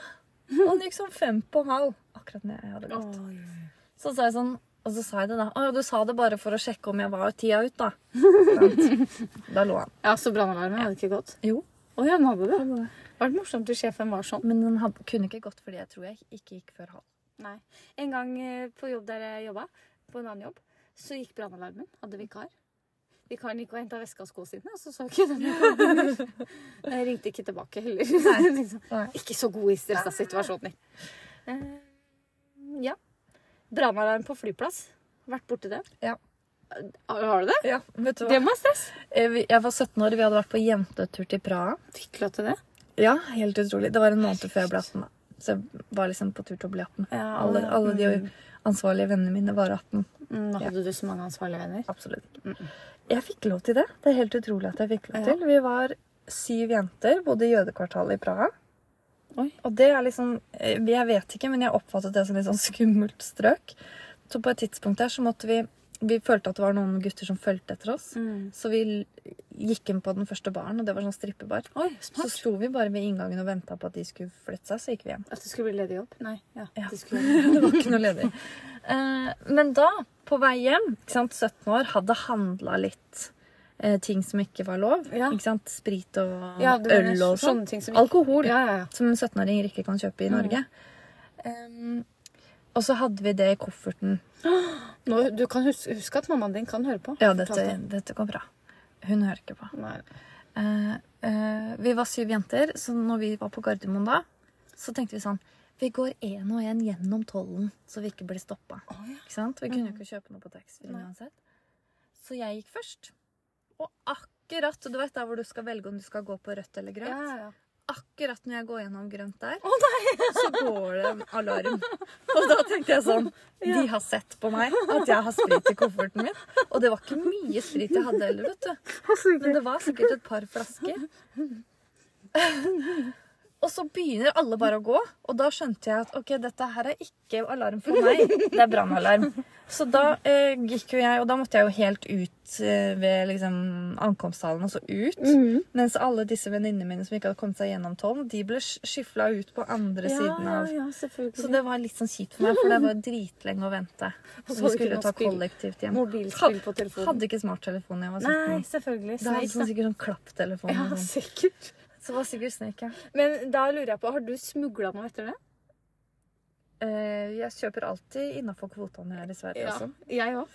[SPEAKER 2] Og den gikk sånn fem på halv. Akkurat når jeg hadde
[SPEAKER 1] Oi,
[SPEAKER 2] gått.
[SPEAKER 1] oi,
[SPEAKER 2] Så sa jeg sånn Og så sa jeg det, da. 'Å ja, du sa det bare for å sjekke om jeg var tida ut, da.' Sant? da lo han.
[SPEAKER 1] Ja, så brannalarmen hadde ikke gått?
[SPEAKER 2] Jo.
[SPEAKER 1] Å ja, den hadde det. Det var morsomt at sjefen var sånn.
[SPEAKER 2] Men den hadde, kunne ikke gått fordi jeg tror jeg ikke gikk før halv.
[SPEAKER 1] Nei. En gang eh, på jobb der jeg jobba, på en annen jobb, så gikk brannalarmen. Hadde vikar. Vikaren gikk og henta veska og skoene sine, og så så ikke den. Jeg ringte ikke tilbake heller. Liksom,
[SPEAKER 2] Nei.
[SPEAKER 1] ikke så god i stressa situasjoner. Eh, Ja. Brannalarm på flyplass. Vært borti det.
[SPEAKER 2] Ja.
[SPEAKER 1] Har har du det?
[SPEAKER 2] Ja, vet du hva? Eh,
[SPEAKER 1] Det må være stress.
[SPEAKER 2] Jeg jeg var 17 år, vi hadde vært på jentetur til Praha.
[SPEAKER 1] Fikk lov til det.
[SPEAKER 2] Ja, helt utrolig. Det var en måned før jeg ble 18. da. Så jeg var liksom på tur til å bli 18.
[SPEAKER 1] Ja,
[SPEAKER 2] alle,
[SPEAKER 1] alle-
[SPEAKER 2] alle de ansvarlige vennene mine var 18.
[SPEAKER 1] Mm, da hadde du så mange ansvarlige venner.
[SPEAKER 2] Absolutt Mm. ikke. Jeg fikk lov til det. Det er helt utrolig at jeg fikk lov til. Vi var syv jenter, bodde i jødekvartalet i Praha.
[SPEAKER 1] Oi.
[SPEAKER 2] Og det er liksom eh, Jeg vet ikke, men jeg oppfattet det som litt sånn skummelt strøk. Så på et tidspunkt der så måtte vi Vi følte at det var noen gutter som fulgte etter oss. Så vi l- gikk inn på den første baren, og det var sånn strippebar.
[SPEAKER 1] Oi,
[SPEAKER 2] Så
[SPEAKER 1] smart.
[SPEAKER 2] sto vi bare ved inngangen og venta på at de skulle flytte seg, så gikk vi hjem.
[SPEAKER 1] At det skulle bli ledig jobb? Nei. Ja,
[SPEAKER 2] Ja.
[SPEAKER 1] det skulle
[SPEAKER 2] Det var ikke noe ledig. Eh, men da, på vei hjem, ikke sant, 17 år, hadde handla litt eh, ting som ikke var lov.
[SPEAKER 1] Ja.
[SPEAKER 2] Ikke sant? Sprit og
[SPEAKER 1] Ja, det var
[SPEAKER 2] øl og
[SPEAKER 1] sånne
[SPEAKER 2] sånn.
[SPEAKER 1] ting som
[SPEAKER 2] Alkohol.
[SPEAKER 1] Ja, ja, ja.
[SPEAKER 2] Som en 17-åring ikke kan kjøpe i Norge. Em, og så hadde vi det i kofferten.
[SPEAKER 1] Nå, du kan huske, huske at mammaen din kan høre på.
[SPEAKER 2] Ja,
[SPEAKER 1] Fortalte
[SPEAKER 2] dette,
[SPEAKER 1] jeg.
[SPEAKER 2] dette går bra. Hun hører ikke på.
[SPEAKER 1] Nei.
[SPEAKER 2] Eh, eh, vi var syv jenter, så når vi var på Gardermoen da, så tenkte vi sånn Vi går én og én gjennom tollen, så vi ikke blir stoppa. Ikke sant? Vi kunne jo ikke kjøpe noe på taxfree
[SPEAKER 1] Mm. Nei.
[SPEAKER 2] uansett. Så jeg gikk først. Og akkurat Du vet der hvor du skal velge om du skal gå på rødt eller
[SPEAKER 1] Ja,
[SPEAKER 2] grønt?
[SPEAKER 1] ja, ja.
[SPEAKER 2] Akkurat når jeg går gjennom grønt der, så går det en alarm. Og da tenkte jeg sånn De har sett på meg at jeg har sprit i kofferten min. Og det var ikke mye sprit jeg hadde heller, vet du. Men det var sikkert et par flasker. Og så begynner alle bare å gå, og da skjønte jeg at ok, dette her er ikke alarm for meg. Det er brannalarm. Så da eh, gikk jo jeg, og da måtte jeg jo helt ut eh, ved liksom, ankomsthallen, altså ut.
[SPEAKER 1] Mhm.
[SPEAKER 2] Mens alle disse venninnene mine som ikke hadde kommet seg gjennom tollen, de ble skyfla ut på andre siden av.
[SPEAKER 1] ja, selvfølgelig.
[SPEAKER 2] Så det var litt sånn kjipt for meg, for det var dritlenge å vente.
[SPEAKER 1] Og så var
[SPEAKER 2] Så
[SPEAKER 1] det
[SPEAKER 2] vi
[SPEAKER 1] ikke
[SPEAKER 2] skulle jo
[SPEAKER 1] noe
[SPEAKER 2] ta
[SPEAKER 1] spill.
[SPEAKER 2] kollektivt hjem.
[SPEAKER 1] Mobilspill på telefonen.
[SPEAKER 2] Hadde ikke smarttelefon da jeg var 17.
[SPEAKER 1] Nei, selvfølgelig.
[SPEAKER 2] da hadde
[SPEAKER 1] Snake,
[SPEAKER 2] man
[SPEAKER 1] da.
[SPEAKER 2] sikkert sånn klapptelefon.
[SPEAKER 1] Ja,
[SPEAKER 2] og sånn.
[SPEAKER 1] sikkert.
[SPEAKER 2] Så var sikkert snek, ja.
[SPEAKER 1] Men da lurer jeg på, har du smugla noe etter det?
[SPEAKER 2] Eh, jeg kjøper alltid innafor kvotene her i Sverige også.
[SPEAKER 1] Jeg òg.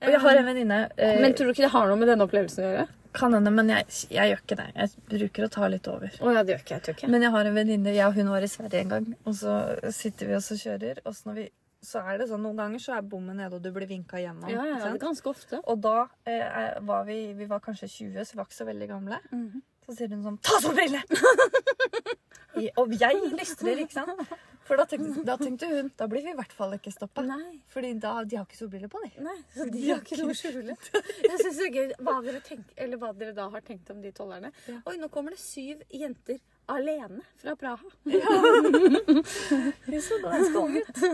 [SPEAKER 2] Og jeg har en venninne eh,
[SPEAKER 1] Men tror du ikke det har noe med denne opplevelsen å gjøre?
[SPEAKER 2] Kan hende, men jeg, jeg gjør ikke det. Jeg bruker å ta litt over.
[SPEAKER 1] Å ja, det gjør ikke jeg. Tror ikke.
[SPEAKER 2] Men jeg har en venninne, jeg og hun var i Sverige en gang, og så sitter vi og så kjører, og så, når vi, så er det sånn noen ganger så er bommen nede, og du blir vinka gjennom.
[SPEAKER 1] ja, ja,
[SPEAKER 2] ikke
[SPEAKER 1] ja, det
[SPEAKER 2] sant?
[SPEAKER 1] er ganske ofte.
[SPEAKER 2] Og da eh, er- var vi, vi var kanskje 20, så vi var ikke så veldig gamle. Så sier hun sånn Ta solbrille! I- og jeg lystrer, ikke sant? For da tenkte, da tenkte hun Da blir vi i hvert fall ikke stoppa.
[SPEAKER 1] Nei.
[SPEAKER 2] Fordi da, de har ikke solbriller på, de.
[SPEAKER 1] Nei, så de har ikke noe å skjule. Jeg synes det er gøy hva dere, tenk, eller hva dere da har tenkt om de tollerne. Oi, nå kommer det syv jenter alene fra Praha.
[SPEAKER 2] Hun så ganske ung ut.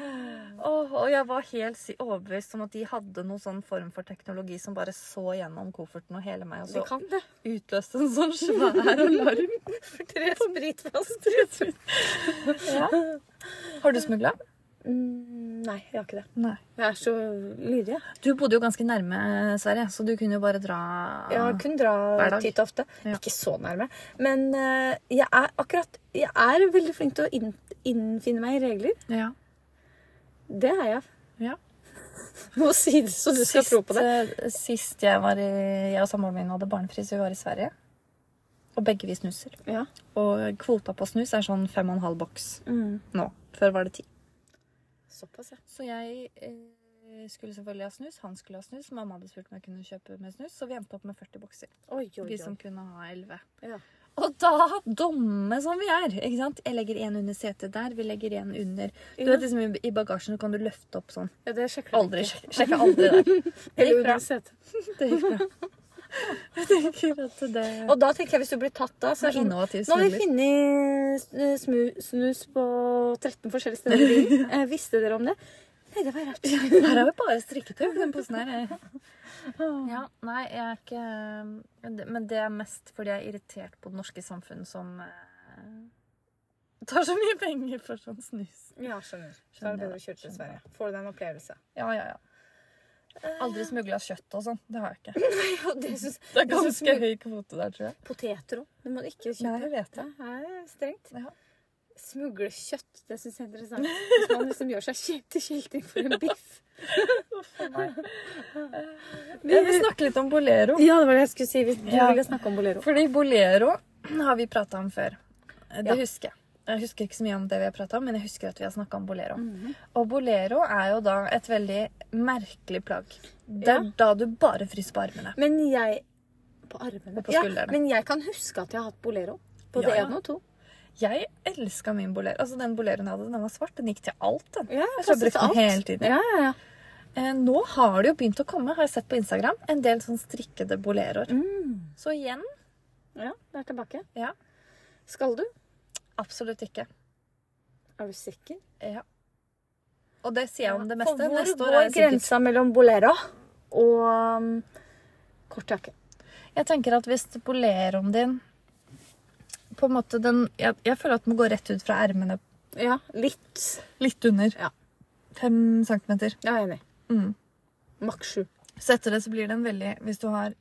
[SPEAKER 2] Åh, og jeg var helt si overbevist om at de hadde noen sånn form for teknologi som bare så gjennom kofferten og hele meg, og
[SPEAKER 1] De
[SPEAKER 2] så
[SPEAKER 1] kan det.
[SPEAKER 2] utløste en sånn svær alarm.
[SPEAKER 1] For tre spritflasker.
[SPEAKER 2] Ja. Har du smugla?
[SPEAKER 1] Mm, nei, jeg har ikke det.
[SPEAKER 2] Nei.
[SPEAKER 1] Jeg er så lydig, jeg.
[SPEAKER 2] Du bodde jo ganske nærme Sverige, så du kunne jo bare dra
[SPEAKER 1] Jeg kunne
[SPEAKER 2] Hver
[SPEAKER 1] dra
[SPEAKER 2] dag.
[SPEAKER 1] titt og ofte.
[SPEAKER 2] Ja.
[SPEAKER 1] Ikke så nærme. Men eh, jeg er akkurat Jeg er veldig flink til å inn, innfinne meg i regler.
[SPEAKER 2] Ja.
[SPEAKER 1] Det er jeg.
[SPEAKER 2] Ja.
[SPEAKER 1] Må si det så du skal tro på det.
[SPEAKER 2] eh, Sist jeg, var i, jeg og samboeren min hadde barnefri, så vi var i Sverige. Og begge vi snuser.
[SPEAKER 1] Ja.
[SPEAKER 2] Og kvota på snus er sånn fem og en halv boks
[SPEAKER 1] Mm.
[SPEAKER 2] nå. Før var det ti.
[SPEAKER 1] Såpass, ja.
[SPEAKER 2] Så jeg eh, skulle selvfølgelig ha snus, han skulle ha snus, mamma hadde spurt om jeg kunne kjøpe med snus, så vi endte opp med 40 bokser.
[SPEAKER 1] Oi, oi,
[SPEAKER 2] Vi som
[SPEAKER 1] oi.
[SPEAKER 2] kunne ha 11.
[SPEAKER 1] Ja.
[SPEAKER 2] Og da, dumme som vi er, ikke sant? Jeg legger en under setet der, vi legger en under. Du
[SPEAKER 1] Ja.
[SPEAKER 2] vet liksom i- i bagasjen kan du løfte opp sånn.
[SPEAKER 1] Ja, det sjekker du
[SPEAKER 2] Aldri, sjek- sjekker aldri der. Det
[SPEAKER 1] Eller
[SPEAKER 2] gikk bra.
[SPEAKER 1] under setet.
[SPEAKER 2] Det gikk bra. Jeg tenker at det
[SPEAKER 1] Og da tenker jeg hvis du blir tatt da, så er det sånn
[SPEAKER 2] Innovativ
[SPEAKER 1] Nå har vi
[SPEAKER 2] smugler.
[SPEAKER 1] funnet snu- smu- snus på 13 forskjellige steder i byen. Eh, Visste dere om det? Nei, det var rart.
[SPEAKER 2] Her har vi bare strikketøy. Den posen her. Ja, nei, jeg er ikke men det- Men det er mest fordi jeg er irritert på det norske samfunn som eh, tar så mye penger for sånn snus.
[SPEAKER 1] Ja, skjønner.
[SPEAKER 2] Så er det bedre å
[SPEAKER 1] kjøre til Sverige. Får du deg en opplevelse.
[SPEAKER 2] Ja, ja, ja. Aldri smugla kjøtt og sånn. Det har jeg ikke.
[SPEAKER 1] det synes,
[SPEAKER 2] Det er
[SPEAKER 1] jeg synes
[SPEAKER 2] ganske
[SPEAKER 1] mye-
[SPEAKER 2] høy kvote der, tror jeg.
[SPEAKER 1] Poteter òg. Det må du ikke
[SPEAKER 2] Nei, jeg
[SPEAKER 1] kjøpe.
[SPEAKER 2] vet
[SPEAKER 1] Det
[SPEAKER 2] det.
[SPEAKER 1] er strengt.
[SPEAKER 2] Ja.
[SPEAKER 1] Smugle kjøtt, det syns jeg er interessant. Hvis man liksom gjør seg kjent til kjelting for en biff.
[SPEAKER 2] Jeg vil snakke litt om bolero.
[SPEAKER 1] Ja, det var det jeg skulle si. hvis Du
[SPEAKER 2] Ja.
[SPEAKER 1] ville snakke om bolero.
[SPEAKER 2] Fordi bolero har vi prata om før. Eh, Det
[SPEAKER 1] Ja.
[SPEAKER 2] husker jeg. Jeg husker ikke så mye om det vi har prata om, men jeg husker at vi har snakka om bolero. Og bolero er jo da et veldig merkelig plagg. Det er
[SPEAKER 1] Ja.
[SPEAKER 2] da du bare fryser på armene.
[SPEAKER 1] Men jeg På armene.
[SPEAKER 2] Og på skuldrene.
[SPEAKER 1] men jeg kan huske at jeg har hatt bolero. Både
[SPEAKER 2] Ja, ja.
[SPEAKER 1] én og to.
[SPEAKER 2] Jeg elska min bolero. Altså, den boleroen jeg hadde, den var svart. Den gikk til alt, den.
[SPEAKER 1] Ja,
[SPEAKER 2] jeg har brukt den hele tiden.
[SPEAKER 1] Ja, ja, ja.
[SPEAKER 2] Eh, nå har det jo begynt å komme, har jeg sett på Instagram, en del sånn strikkede boleroer. Så igjen
[SPEAKER 1] ja, det er tilbake.
[SPEAKER 2] Mm. ja,
[SPEAKER 1] Skal du?
[SPEAKER 2] absolutt ikke.
[SPEAKER 1] Er du sikker?
[SPEAKER 2] Ja. Og det sier jeg om det
[SPEAKER 1] For
[SPEAKER 2] meste.
[SPEAKER 1] hvor
[SPEAKER 2] Neste år
[SPEAKER 1] går
[SPEAKER 2] er jeg sikkert
[SPEAKER 1] grensa mellom bolero og um, kort jakke?
[SPEAKER 2] Jeg tenker at hvis boleroen din på en måte den, jeg, jeg føler at den går rett ut fra ermene.
[SPEAKER 1] Ja, litt.
[SPEAKER 2] Litt under.
[SPEAKER 1] Ja.
[SPEAKER 2] Fem centimeter.
[SPEAKER 1] Jeg er enig.
[SPEAKER 2] Mm.
[SPEAKER 1] Maks sju.
[SPEAKER 2] Så etter det så blir det en veldig Hvis du har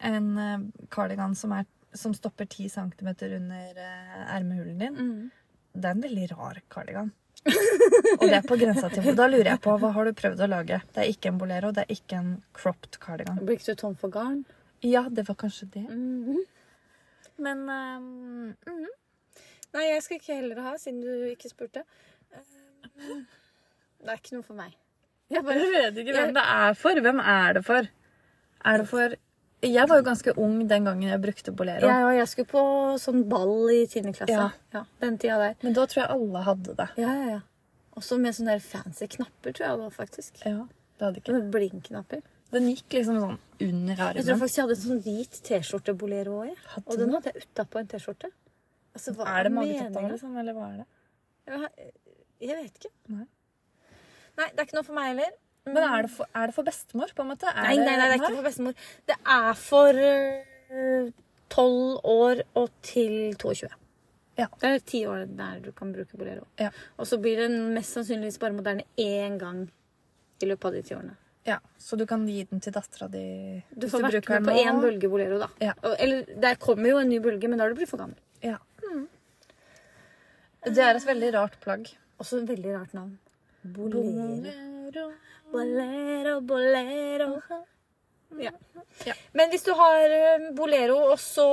[SPEAKER 2] en eh, kardigan som, er, som stopper 10 cm under eh, ermehulen din, det er en veldig rar kardigan. Og det er på grensa til Da lurer jeg på hva har du prøvd å lage. Det er ikke en bolero, det er ikke en cropped kardigan.
[SPEAKER 1] Blir ikke du tom for garn?
[SPEAKER 2] Ja, det var kanskje det. Men eh, mm.
[SPEAKER 1] Nei, jeg skal ikke heller ha, siden du ikke spurte. Um, Det er ikke noe for meg. Jeg bare
[SPEAKER 2] Jeg vet ikke hvem det er for. Hvem er det for? Er det for Jeg var jo ganske ung den gangen jeg brukte bolero.
[SPEAKER 1] Jeg, og jeg skulle på sånn ball i 10. klasse.
[SPEAKER 2] Ja.
[SPEAKER 1] den tida der.
[SPEAKER 2] Men da tror jeg alle hadde det.
[SPEAKER 1] Ja, ja, ja. Også med sånne der fancy knapper, tror jeg det var faktisk.
[SPEAKER 2] Ja, det hadde ikke.
[SPEAKER 1] Sånne Blink-knapper.
[SPEAKER 2] Den gikk liksom sånn under
[SPEAKER 1] Jeg tror
[SPEAKER 2] armen.
[SPEAKER 1] faktisk jeg hadde en sånn hvit T-skjorte-bolero òg.
[SPEAKER 2] Hadde
[SPEAKER 1] Og
[SPEAKER 2] du
[SPEAKER 1] den hadde jeg utapå en T-skjorte. Altså, hva
[SPEAKER 2] Er det
[SPEAKER 1] meningen?
[SPEAKER 2] magetoppene, liksom? Eller hva er det?
[SPEAKER 1] Jeg, jeg vet ikke.
[SPEAKER 2] Nei.
[SPEAKER 1] Nei, det er ikke noe for meg heller.
[SPEAKER 2] Men er det for, er det for bestemor, på en måte? Er
[SPEAKER 1] Nei, nei, nei, det er ikke for bestemor. Det er for øh, 12 år og til 22.
[SPEAKER 2] Ja.
[SPEAKER 1] Det er ti år der du kan bruke bolero.
[SPEAKER 2] Ja.
[SPEAKER 1] Og så blir den mest sannsynligvis bare moderne én gang i løpet av de ti årene.
[SPEAKER 2] Ja, Så du kan gi den til dattera di
[SPEAKER 1] Du
[SPEAKER 2] hvis
[SPEAKER 1] får vært
[SPEAKER 2] bruker
[SPEAKER 1] med på
[SPEAKER 2] den
[SPEAKER 1] én
[SPEAKER 2] nå?
[SPEAKER 1] bølge bolero, da.
[SPEAKER 2] Ja.
[SPEAKER 1] Og- Eller der kommer jo en ny bølge, men da er du blitt for gammel.
[SPEAKER 2] Ja. Det er et veldig rart plagg.
[SPEAKER 1] Også et veldig rart navn. Bolero.
[SPEAKER 2] Bolero.
[SPEAKER 1] Bolero, bolero. Ja.
[SPEAKER 2] Ja.
[SPEAKER 1] Men hvis du har øh, bolero, og så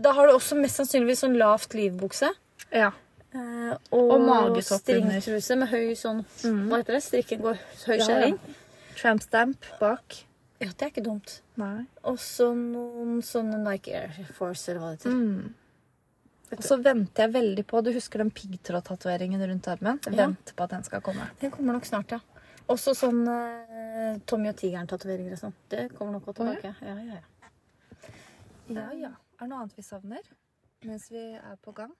[SPEAKER 1] Da har du også mest sannsynligvis sånn lavt livbukse.
[SPEAKER 2] Ja.
[SPEAKER 1] Eh, og,
[SPEAKER 2] Og magetopp under.
[SPEAKER 1] stringtruse med høy sånn Hva heter det? Strikken går høy
[SPEAKER 2] Ja,
[SPEAKER 1] skjæring. Ja,
[SPEAKER 2] Mm. Tramp stamp bak.
[SPEAKER 1] det er ikke dumt.
[SPEAKER 2] Nei.
[SPEAKER 1] Og så noen sånne Nike Air Force eller hva det heter.
[SPEAKER 2] Mm. Og så venter jeg veldig på Du husker den piggtrådtatoveringen rundt armen? Jeg
[SPEAKER 1] Ja.
[SPEAKER 2] Venter på at den skal komme.
[SPEAKER 1] Den kommer nok snart, ja. Og så sånn eh, Tommy og Tigeren-tatoveringer og sånn. Det kommer nok også
[SPEAKER 2] Å, ja.
[SPEAKER 1] tilbake. Ja, ja, ja.
[SPEAKER 2] Ja, ja. Er det noe annet vi savner mens vi er på gang?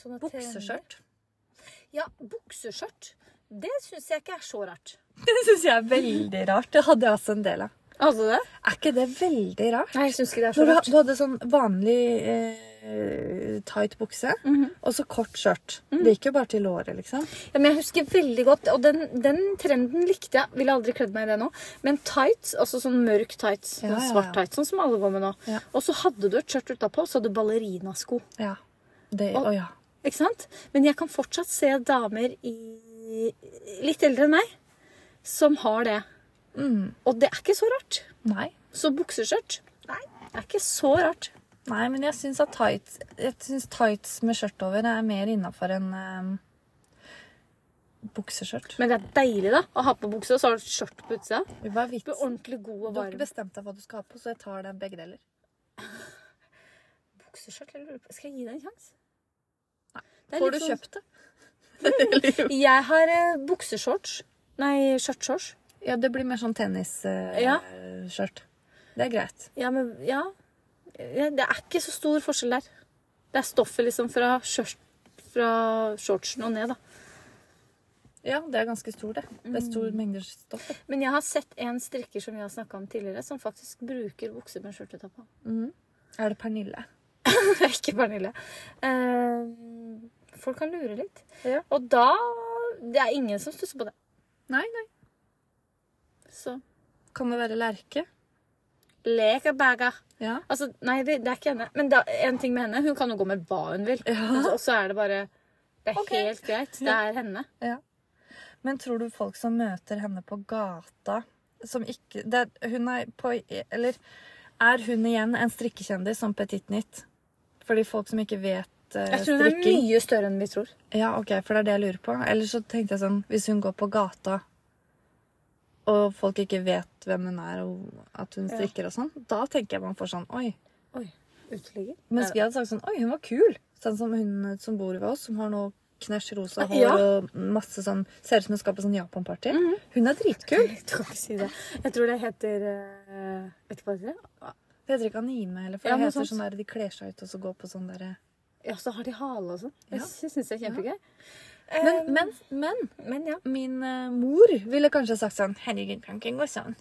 [SPEAKER 1] Sånne treninger.
[SPEAKER 2] Bukseskjørt.
[SPEAKER 1] Sånn eh, Ja, bukseskjørt. Det syns jeg ikke er så rart.
[SPEAKER 2] Det syns jeg er veldig rart. Det hadde jeg også en del av.
[SPEAKER 1] Altså det?
[SPEAKER 2] Er ikke det veldig rart?
[SPEAKER 1] Nei, jeg syns ikke det er så
[SPEAKER 2] Når du, ha-
[SPEAKER 1] rart.
[SPEAKER 2] du hadde sånn vanlig eh, tight bukse
[SPEAKER 1] Mhm.
[SPEAKER 2] og så kort skjørt. Det gikk jo bare til låret, liksom.
[SPEAKER 1] Ja, men jeg husker veldig godt, og den, den trenden likte jeg. Ville aldri kledd meg i det nå. Men tights, altså sånn mørk tights,
[SPEAKER 2] Ja, ja, ja.
[SPEAKER 1] svart tights, sånn som alle går med nå.
[SPEAKER 2] Ja.
[SPEAKER 1] Og så hadde du et skjørt utapå, og så hadde du ballerinasko.
[SPEAKER 2] Ja. Det,
[SPEAKER 1] Og-
[SPEAKER 2] å ja.
[SPEAKER 1] Ikke sant? Men jeg kan fortsatt se damer i litt eldre enn meg som har det.
[SPEAKER 2] Mm.
[SPEAKER 1] Og det er ikke så rart.
[SPEAKER 2] Nei.
[SPEAKER 1] Så bukseskjørt Nei, det er ikke så rart.
[SPEAKER 2] Nei, men jeg syns at tights, jeg synes tights med skjørt over er mer innafor enn eh, bukseskjørt.
[SPEAKER 1] Men det er deilig da, å ha på bukse, og så har du et skjørt på utsida. Du
[SPEAKER 2] Hva er vitsen?
[SPEAKER 1] blir ordentlig god og
[SPEAKER 2] Du har
[SPEAKER 1] varm.
[SPEAKER 2] ikke bestemt deg for hva du skal ha på, så jeg tar deg begge deler.
[SPEAKER 1] Bukseskjørt, jeg lurer på- Skal jeg gi deg en sjanse? Det er
[SPEAKER 2] Får du
[SPEAKER 1] litt sånn-
[SPEAKER 2] kjøpt det?
[SPEAKER 1] Jeg har eh, bukseshorts. Nei, skjørtshorts.
[SPEAKER 2] Ja, det blir mer sånn tennisskjørt.
[SPEAKER 1] Ja.
[SPEAKER 2] Det er greit.
[SPEAKER 1] Ja, men ja. Eh, Det er ikke så stor forskjell der. Det er stoffet liksom fra, skjørt, fra shortsen og ned, da.
[SPEAKER 2] Ja, det er ganske stor, det. Det er
[SPEAKER 1] Mm.
[SPEAKER 2] stor mengde stoff. det.
[SPEAKER 1] Men jeg har sett en strikker som vi har snakka om tidligere, som faktisk bruker bukse med skjørtetapp på.
[SPEAKER 2] Er det Pernille?
[SPEAKER 1] Det er ikke Pernille. Eh, folk kan lure litt.
[SPEAKER 2] Ja.
[SPEAKER 1] Og da Det er ingen som stusser på det.
[SPEAKER 2] Nei, nei.
[SPEAKER 1] Så
[SPEAKER 2] Kan det være Lerke?
[SPEAKER 1] leker baga.
[SPEAKER 2] Ja.
[SPEAKER 1] Altså, nei, det, det er ikke henne. Men da, en ting med henne, hun kan jo gå med hva hun vil. Altså, og så er det bare Det er
[SPEAKER 2] Ok.
[SPEAKER 1] helt greit. Det er henne.
[SPEAKER 2] Men tror du folk som møter henne på gata, som ikke det, er- Hun er på Eller er hun igjen en strikkekjendis som Petit Nytt? Fordi folk som ikke vet eh,
[SPEAKER 1] Jeg tror hun er
[SPEAKER 2] strikking
[SPEAKER 1] mye større enn vi tror.
[SPEAKER 2] Ja, ok, for det er det jeg lurer på. Eller så tenkte jeg sånn, hvis hun går på gata, og folk ikke vet hvem hun er, og at hun strikker og sånn, da tenker jeg man får sånn, oi,
[SPEAKER 1] Oi. Uteligger.
[SPEAKER 2] Mens vi hadde sagt sånn Oi, hun var kul. Sånn som hun som bor ved oss, som har noe knæsj rosa hår
[SPEAKER 1] Ah, Ja. Mhm.
[SPEAKER 2] og masse sånn Ser ut som hun skal på sånn Japan-party. Hun er dritkul.
[SPEAKER 1] Du kan ikke si det. Jeg tror det heter eh, Vet du hva det heter?
[SPEAKER 2] Det heter ikke anime, eller for
[SPEAKER 1] Ja,
[SPEAKER 2] det
[SPEAKER 1] noe
[SPEAKER 2] heter
[SPEAKER 1] sånt.
[SPEAKER 2] sånn der de kler seg ut og så går på sånn derre
[SPEAKER 1] Ja, så har de hale og sånn.
[SPEAKER 2] Ja.
[SPEAKER 1] Jeg syns det er kjempegøy. Eh.
[SPEAKER 2] men, men, men
[SPEAKER 1] Men ja.
[SPEAKER 2] min eh, mor ville kanskje sagt sånn Herregud, kan ikke gå sånn.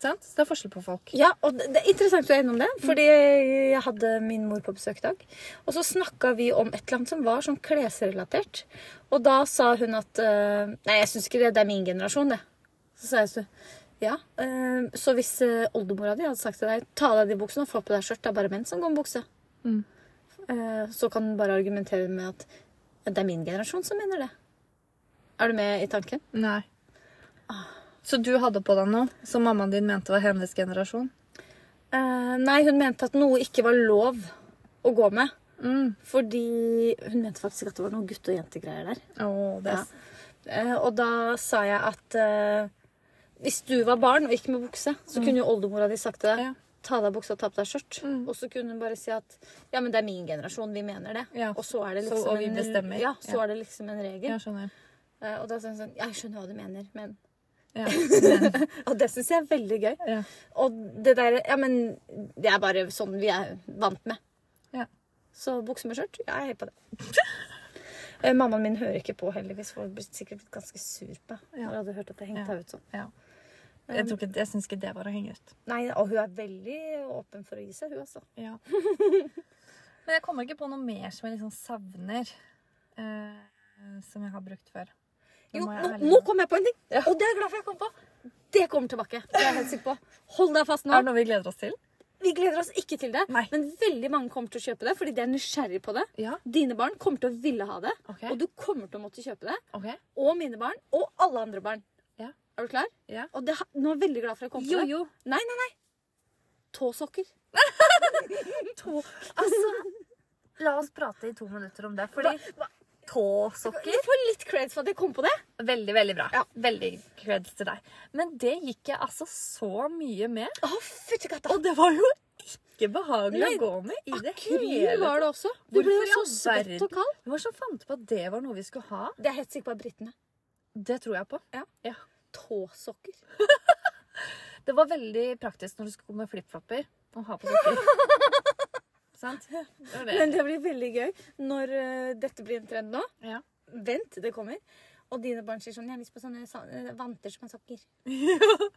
[SPEAKER 2] Sant? Så det er forskjell på folk.
[SPEAKER 1] Ja, og det det er interessant du er innom det, fordi jeg hadde min mor på besøk i dag. Og så snakka vi om et eller annet som var sånn klesrelatert. Og da sa hun at eh, Nei, jeg syns ikke det, det er min generasjon, det. Så sa jeg så ja, eh, så hvis eh, oldemora di hadde sagt til deg ta av deg de buksene og få på deg skjørt, det er bare menn som går med bukse,
[SPEAKER 2] Mm.
[SPEAKER 1] Eh, så kan hun bare argumentere med at det er min generasjon som mener det. Er du med i tanken?
[SPEAKER 2] Nei. Ah. Så du hadde på deg noe som mammaen din mente var hennes generasjon?
[SPEAKER 1] Eh, nei, hun mente at noe ikke var lov å gå med.
[SPEAKER 2] Mm.
[SPEAKER 1] Fordi hun mente faktisk at det var noe gutte- og jentegreier der.
[SPEAKER 2] Å, det er
[SPEAKER 1] Ja. Eh, og da sa jeg at eh, hvis du var barn og gikk med bukse, så kunne jo oldemora di sagt til deg
[SPEAKER 2] Mm. Ja. Mm.
[SPEAKER 1] ta av deg buksa og ta på deg skjørt. Og så kunne hun bare si at ja, men det er min generasjon, vi mener det.
[SPEAKER 2] Ja.
[SPEAKER 1] Og så er det
[SPEAKER 2] Så-
[SPEAKER 1] liksom
[SPEAKER 2] og vi
[SPEAKER 1] en-
[SPEAKER 2] bestemmer.
[SPEAKER 1] Ja, så
[SPEAKER 2] Ja.
[SPEAKER 1] er det liksom en regel.
[SPEAKER 2] Ja, skjønner.
[SPEAKER 1] Eh, og da sa hun sånn Jeg skjønner hva du mener, men
[SPEAKER 2] Ja.
[SPEAKER 1] Og det syns jeg er veldig gøy.
[SPEAKER 2] Ja.
[SPEAKER 1] Og det derre Ja, men det er bare sånn vi er vant med.
[SPEAKER 2] Ja.
[SPEAKER 1] Så bukse med skjørt, jeg er helt på det. Eh, Mammaen min hører ikke på, heldigvis, for hun blir sikkert blitt ganske sur på meg.
[SPEAKER 2] Ja.
[SPEAKER 1] Når hun hadde hørt at jeg hengte
[SPEAKER 2] Ja.
[SPEAKER 1] henne ut sånn.
[SPEAKER 2] ja. Jeg, tror ikke- jeg syns ikke det var å henge ut.
[SPEAKER 1] Nei, Og hun er veldig åpen for å gi seg, hun, altså.
[SPEAKER 2] Ja. Men jeg kommer ikke på noe mer som jeg liksom savner. Eh, som jeg har brukt før.
[SPEAKER 1] Jo,
[SPEAKER 2] må jeg
[SPEAKER 1] nå, nå
[SPEAKER 2] ærlig innrømme.
[SPEAKER 1] kom jeg på en ting! Og det er jeg glad for jeg kom på! Det kommer tilbake. Det er jeg helt sikker på. Hold deg fast
[SPEAKER 2] Er
[SPEAKER 1] nå.
[SPEAKER 2] det noe vi gleder oss til?
[SPEAKER 1] Vi gleder oss ikke til det,
[SPEAKER 2] Nei.
[SPEAKER 1] men veldig mange kommer til å kjøpe det fordi de er nysgjerrig på det.
[SPEAKER 2] Ja.
[SPEAKER 1] Dine barn kommer til å ville ha det,
[SPEAKER 2] Ok.
[SPEAKER 1] og du kommer til å måtte kjøpe det.
[SPEAKER 2] Ok.
[SPEAKER 1] og mine barn, og alle andre barn.
[SPEAKER 2] Ja.
[SPEAKER 1] Er du klar?
[SPEAKER 2] Ja.
[SPEAKER 1] Og det, ha- nå er jeg veldig glad for at jeg kom på det.
[SPEAKER 2] jo.
[SPEAKER 1] Nei, nei, nei. Tåsokker.
[SPEAKER 2] To. Altså, la oss prate i to minutter om det. Fordi tåsokker
[SPEAKER 1] Jeg får litt creds for at jeg kom på det.
[SPEAKER 2] Veldig, veldig bra.
[SPEAKER 1] Ja.
[SPEAKER 2] Veldig creds til deg. Men det gikk jeg altså så mye med.
[SPEAKER 1] Å, fytti katta.
[SPEAKER 2] Og det var jo ikke behagelig
[SPEAKER 1] Nei,
[SPEAKER 2] å gå med i det hele
[SPEAKER 1] Akryl var det også. Det ble
[SPEAKER 2] Hvorfor i
[SPEAKER 1] jo så
[SPEAKER 2] all
[SPEAKER 1] svett
[SPEAKER 2] verden?
[SPEAKER 1] og kald.
[SPEAKER 2] Hvem var det som fant på at det var noe vi skulle ha?
[SPEAKER 1] Det er jeg helt sikkert på er britene.
[SPEAKER 2] Det tror jeg på.
[SPEAKER 1] Ja. Tåsokker.
[SPEAKER 2] Det var veldig praktisk når du skulle gå med flipflopper og ha på sokker. Sant? Det var det.
[SPEAKER 1] Men det blir veldig gøy når eh, dette blir en trend nå.
[SPEAKER 2] Ja.
[SPEAKER 1] Vent, det kommer. Og dine barn sier sånn, jeg har lyst på sånne sa- eh, vanter som er sokker.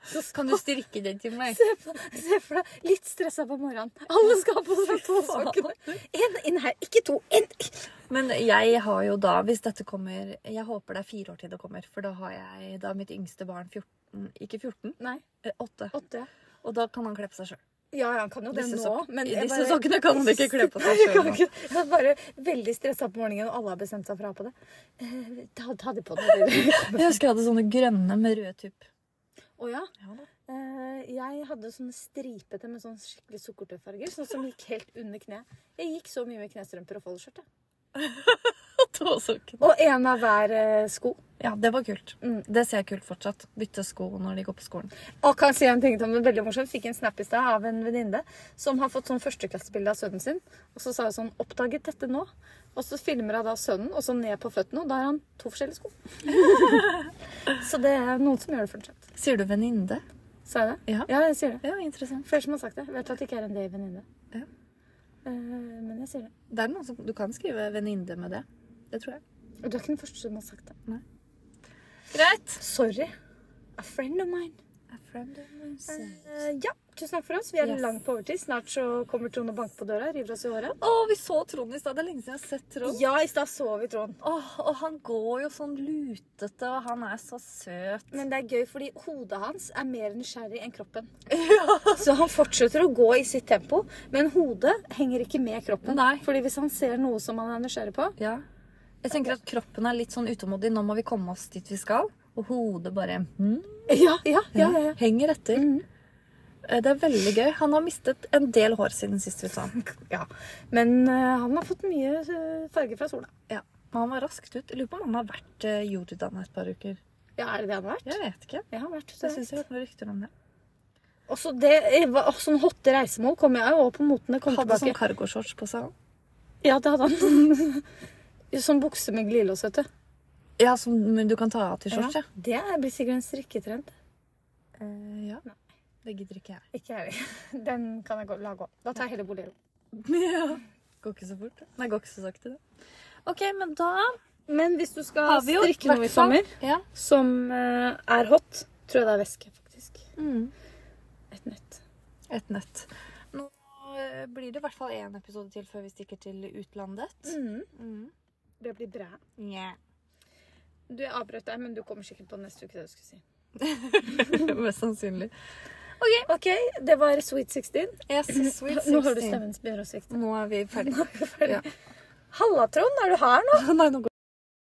[SPEAKER 1] Så
[SPEAKER 2] Kan du strikke den til meg?
[SPEAKER 1] Se for, se for deg, litt stressa på morgenen. Alle skal ha på seg tåsokkene. Én inn her, ikke to. En.
[SPEAKER 2] Men jeg har jo da, hvis dette kommer Jeg håper det er fire år til det kommer, for da har jeg da er mitt yngste barn 14 Ikke 14,
[SPEAKER 1] Nei,
[SPEAKER 2] eh, 8.
[SPEAKER 1] åtte.
[SPEAKER 2] Og da kan han kle på seg sjøl.
[SPEAKER 1] Ja, ja, han kan jo det
[SPEAKER 2] Disse
[SPEAKER 1] nå,
[SPEAKER 2] sokkene-
[SPEAKER 1] men
[SPEAKER 2] i
[SPEAKER 1] jeg
[SPEAKER 2] disse sokkene kan han ikke kle på seg
[SPEAKER 1] Nei, jeg
[SPEAKER 2] selv
[SPEAKER 1] kan
[SPEAKER 2] nå.
[SPEAKER 1] ikke. Jeg er bare veldig stressa på morgenen, og alle har bestemt seg for å ha på det. Eh, Ta, ta de på deg.
[SPEAKER 2] Jeg husker jeg hadde sånne grønne med rød tupp.
[SPEAKER 1] Å ja.
[SPEAKER 2] Ja da.
[SPEAKER 1] Eh, Jeg hadde sånne stripete med sånn skikkelig sukkertøyfarger, sånn som gikk helt under kneet. Jeg gikk så mye med knestrømper og foldskjørt. jeg.
[SPEAKER 2] Tåsokken.
[SPEAKER 1] Og én av hver eh, sko.
[SPEAKER 2] Ja, det var kult.
[SPEAKER 1] Mm.
[SPEAKER 2] Det ser jeg kult fortsatt. Bytte sko når de går på skolen.
[SPEAKER 1] Og kan si en ting Tom, det er veldig morsomt. Fikk en snap i sted av en venninne som har fått sånn førsteklassebilde av sønnen sin. Og så sa hun sånn 'Oppdaget dette nå?' Og så filmer hun da sønnen, og så ned på føttene, og da har han to forskjellige sko. så det er noen som gjør det fortsatt.
[SPEAKER 2] Sier du venninne?
[SPEAKER 1] Sa jeg det?
[SPEAKER 2] Ja.
[SPEAKER 1] ja jeg sier det.
[SPEAKER 2] Ja, interessant.
[SPEAKER 1] Flere som har sagt det. Vet at det ikke er en day-venninne.
[SPEAKER 2] Ja.
[SPEAKER 1] Eh, men jeg sier det.
[SPEAKER 2] Det er noen som, du kan skrive venninne med det. Det tror jeg.
[SPEAKER 1] Og du er ikke den første som har sagt det.
[SPEAKER 2] Greit.
[SPEAKER 1] Sorry. A friend of mine. Eh, ja, tusen takk for oss. Vi er
[SPEAKER 2] Yes.
[SPEAKER 1] langt på overtid. Snart så kommer Trond og banker på døra, river oss i håret.
[SPEAKER 2] Å, vi så Trond i stad. Det er lenge siden jeg har sett Trond.
[SPEAKER 1] Ja, i stad så vi Trond.
[SPEAKER 2] Åh, og han går jo sånn lutete, og han er så søt.
[SPEAKER 1] Men det er gøy, fordi hodet hans er mer nysgjerrig enn kroppen. Så han fortsetter å gå i sitt tempo, men hodet henger ikke med kroppen.
[SPEAKER 2] Nei.
[SPEAKER 1] Fordi hvis han ser noe som han er nysgjerrig på
[SPEAKER 2] Ja. Jeg tenker at kroppen er litt sånn utålmodig. Nå må vi komme oss dit vi skal. Og hodet bare mm,
[SPEAKER 1] Ja, ja, ja. ja, Mm. ja.
[SPEAKER 2] henger etter. Eh, Det er veldig gøy. Han har mistet en del hår siden sist vi så han.
[SPEAKER 1] ja. Men eh, han har fått mye eh, farge fra sola.
[SPEAKER 2] Ja. Men han var raskt ut. Jeg lurer på om han har vært eh, i Jordan et par uker.
[SPEAKER 1] Ja, er det det han har vært?
[SPEAKER 2] Jeg vet ikke.
[SPEAKER 1] Jeg har vært
[SPEAKER 2] Jeg
[SPEAKER 1] ute.
[SPEAKER 2] syns jeg hørte noen rykter om det.
[SPEAKER 1] Også det, jeg var- å, sånn hotte reisemål kom jeg jo også på moten. Det kom
[SPEAKER 2] Hadde sånn
[SPEAKER 1] tilbake.
[SPEAKER 2] cargoshorts på seg.
[SPEAKER 1] Ja, det hadde han. sånn bukse med glidelås, vet du.
[SPEAKER 2] Ja, som men du kan ta av til shorts, ja.
[SPEAKER 1] Det er- blir sikkert en strikketrend.
[SPEAKER 2] Eh, ja. Det gidder ikke jeg.
[SPEAKER 1] Ikke jeg heller. Den kan jeg gå- la gå. Da tar jeg heller bolero.
[SPEAKER 2] ja. Går ikke så fort. det. Nei, går ikke så sakte, det. OK, men da
[SPEAKER 1] Men hvis du skal
[SPEAKER 2] har vi jo
[SPEAKER 1] strikke noe i
[SPEAKER 2] hvertfall-
[SPEAKER 1] sommer
[SPEAKER 2] Ja.
[SPEAKER 1] som eh, er hot, tror jeg det er væske, faktisk.
[SPEAKER 2] Mm.
[SPEAKER 1] Et nett.
[SPEAKER 2] Et nett. Nå eh, blir det i hvert fall én episode til før vi stikker til utlandet. Mm.
[SPEAKER 1] Det blir bra.
[SPEAKER 2] Yeah.
[SPEAKER 1] Du, jeg avbrøt deg, men du kommer sikkert på neste uke det du skulle si.
[SPEAKER 2] Mest sannsynlig.
[SPEAKER 1] OK, det var Sweet 16.
[SPEAKER 2] Yes, sweet
[SPEAKER 1] Nå har du
[SPEAKER 2] 16.
[SPEAKER 1] stemmen som begynner å svikte.
[SPEAKER 2] Nå er vi ferdige.
[SPEAKER 1] Halla, Trond, er du her nå?
[SPEAKER 2] Nei, nå går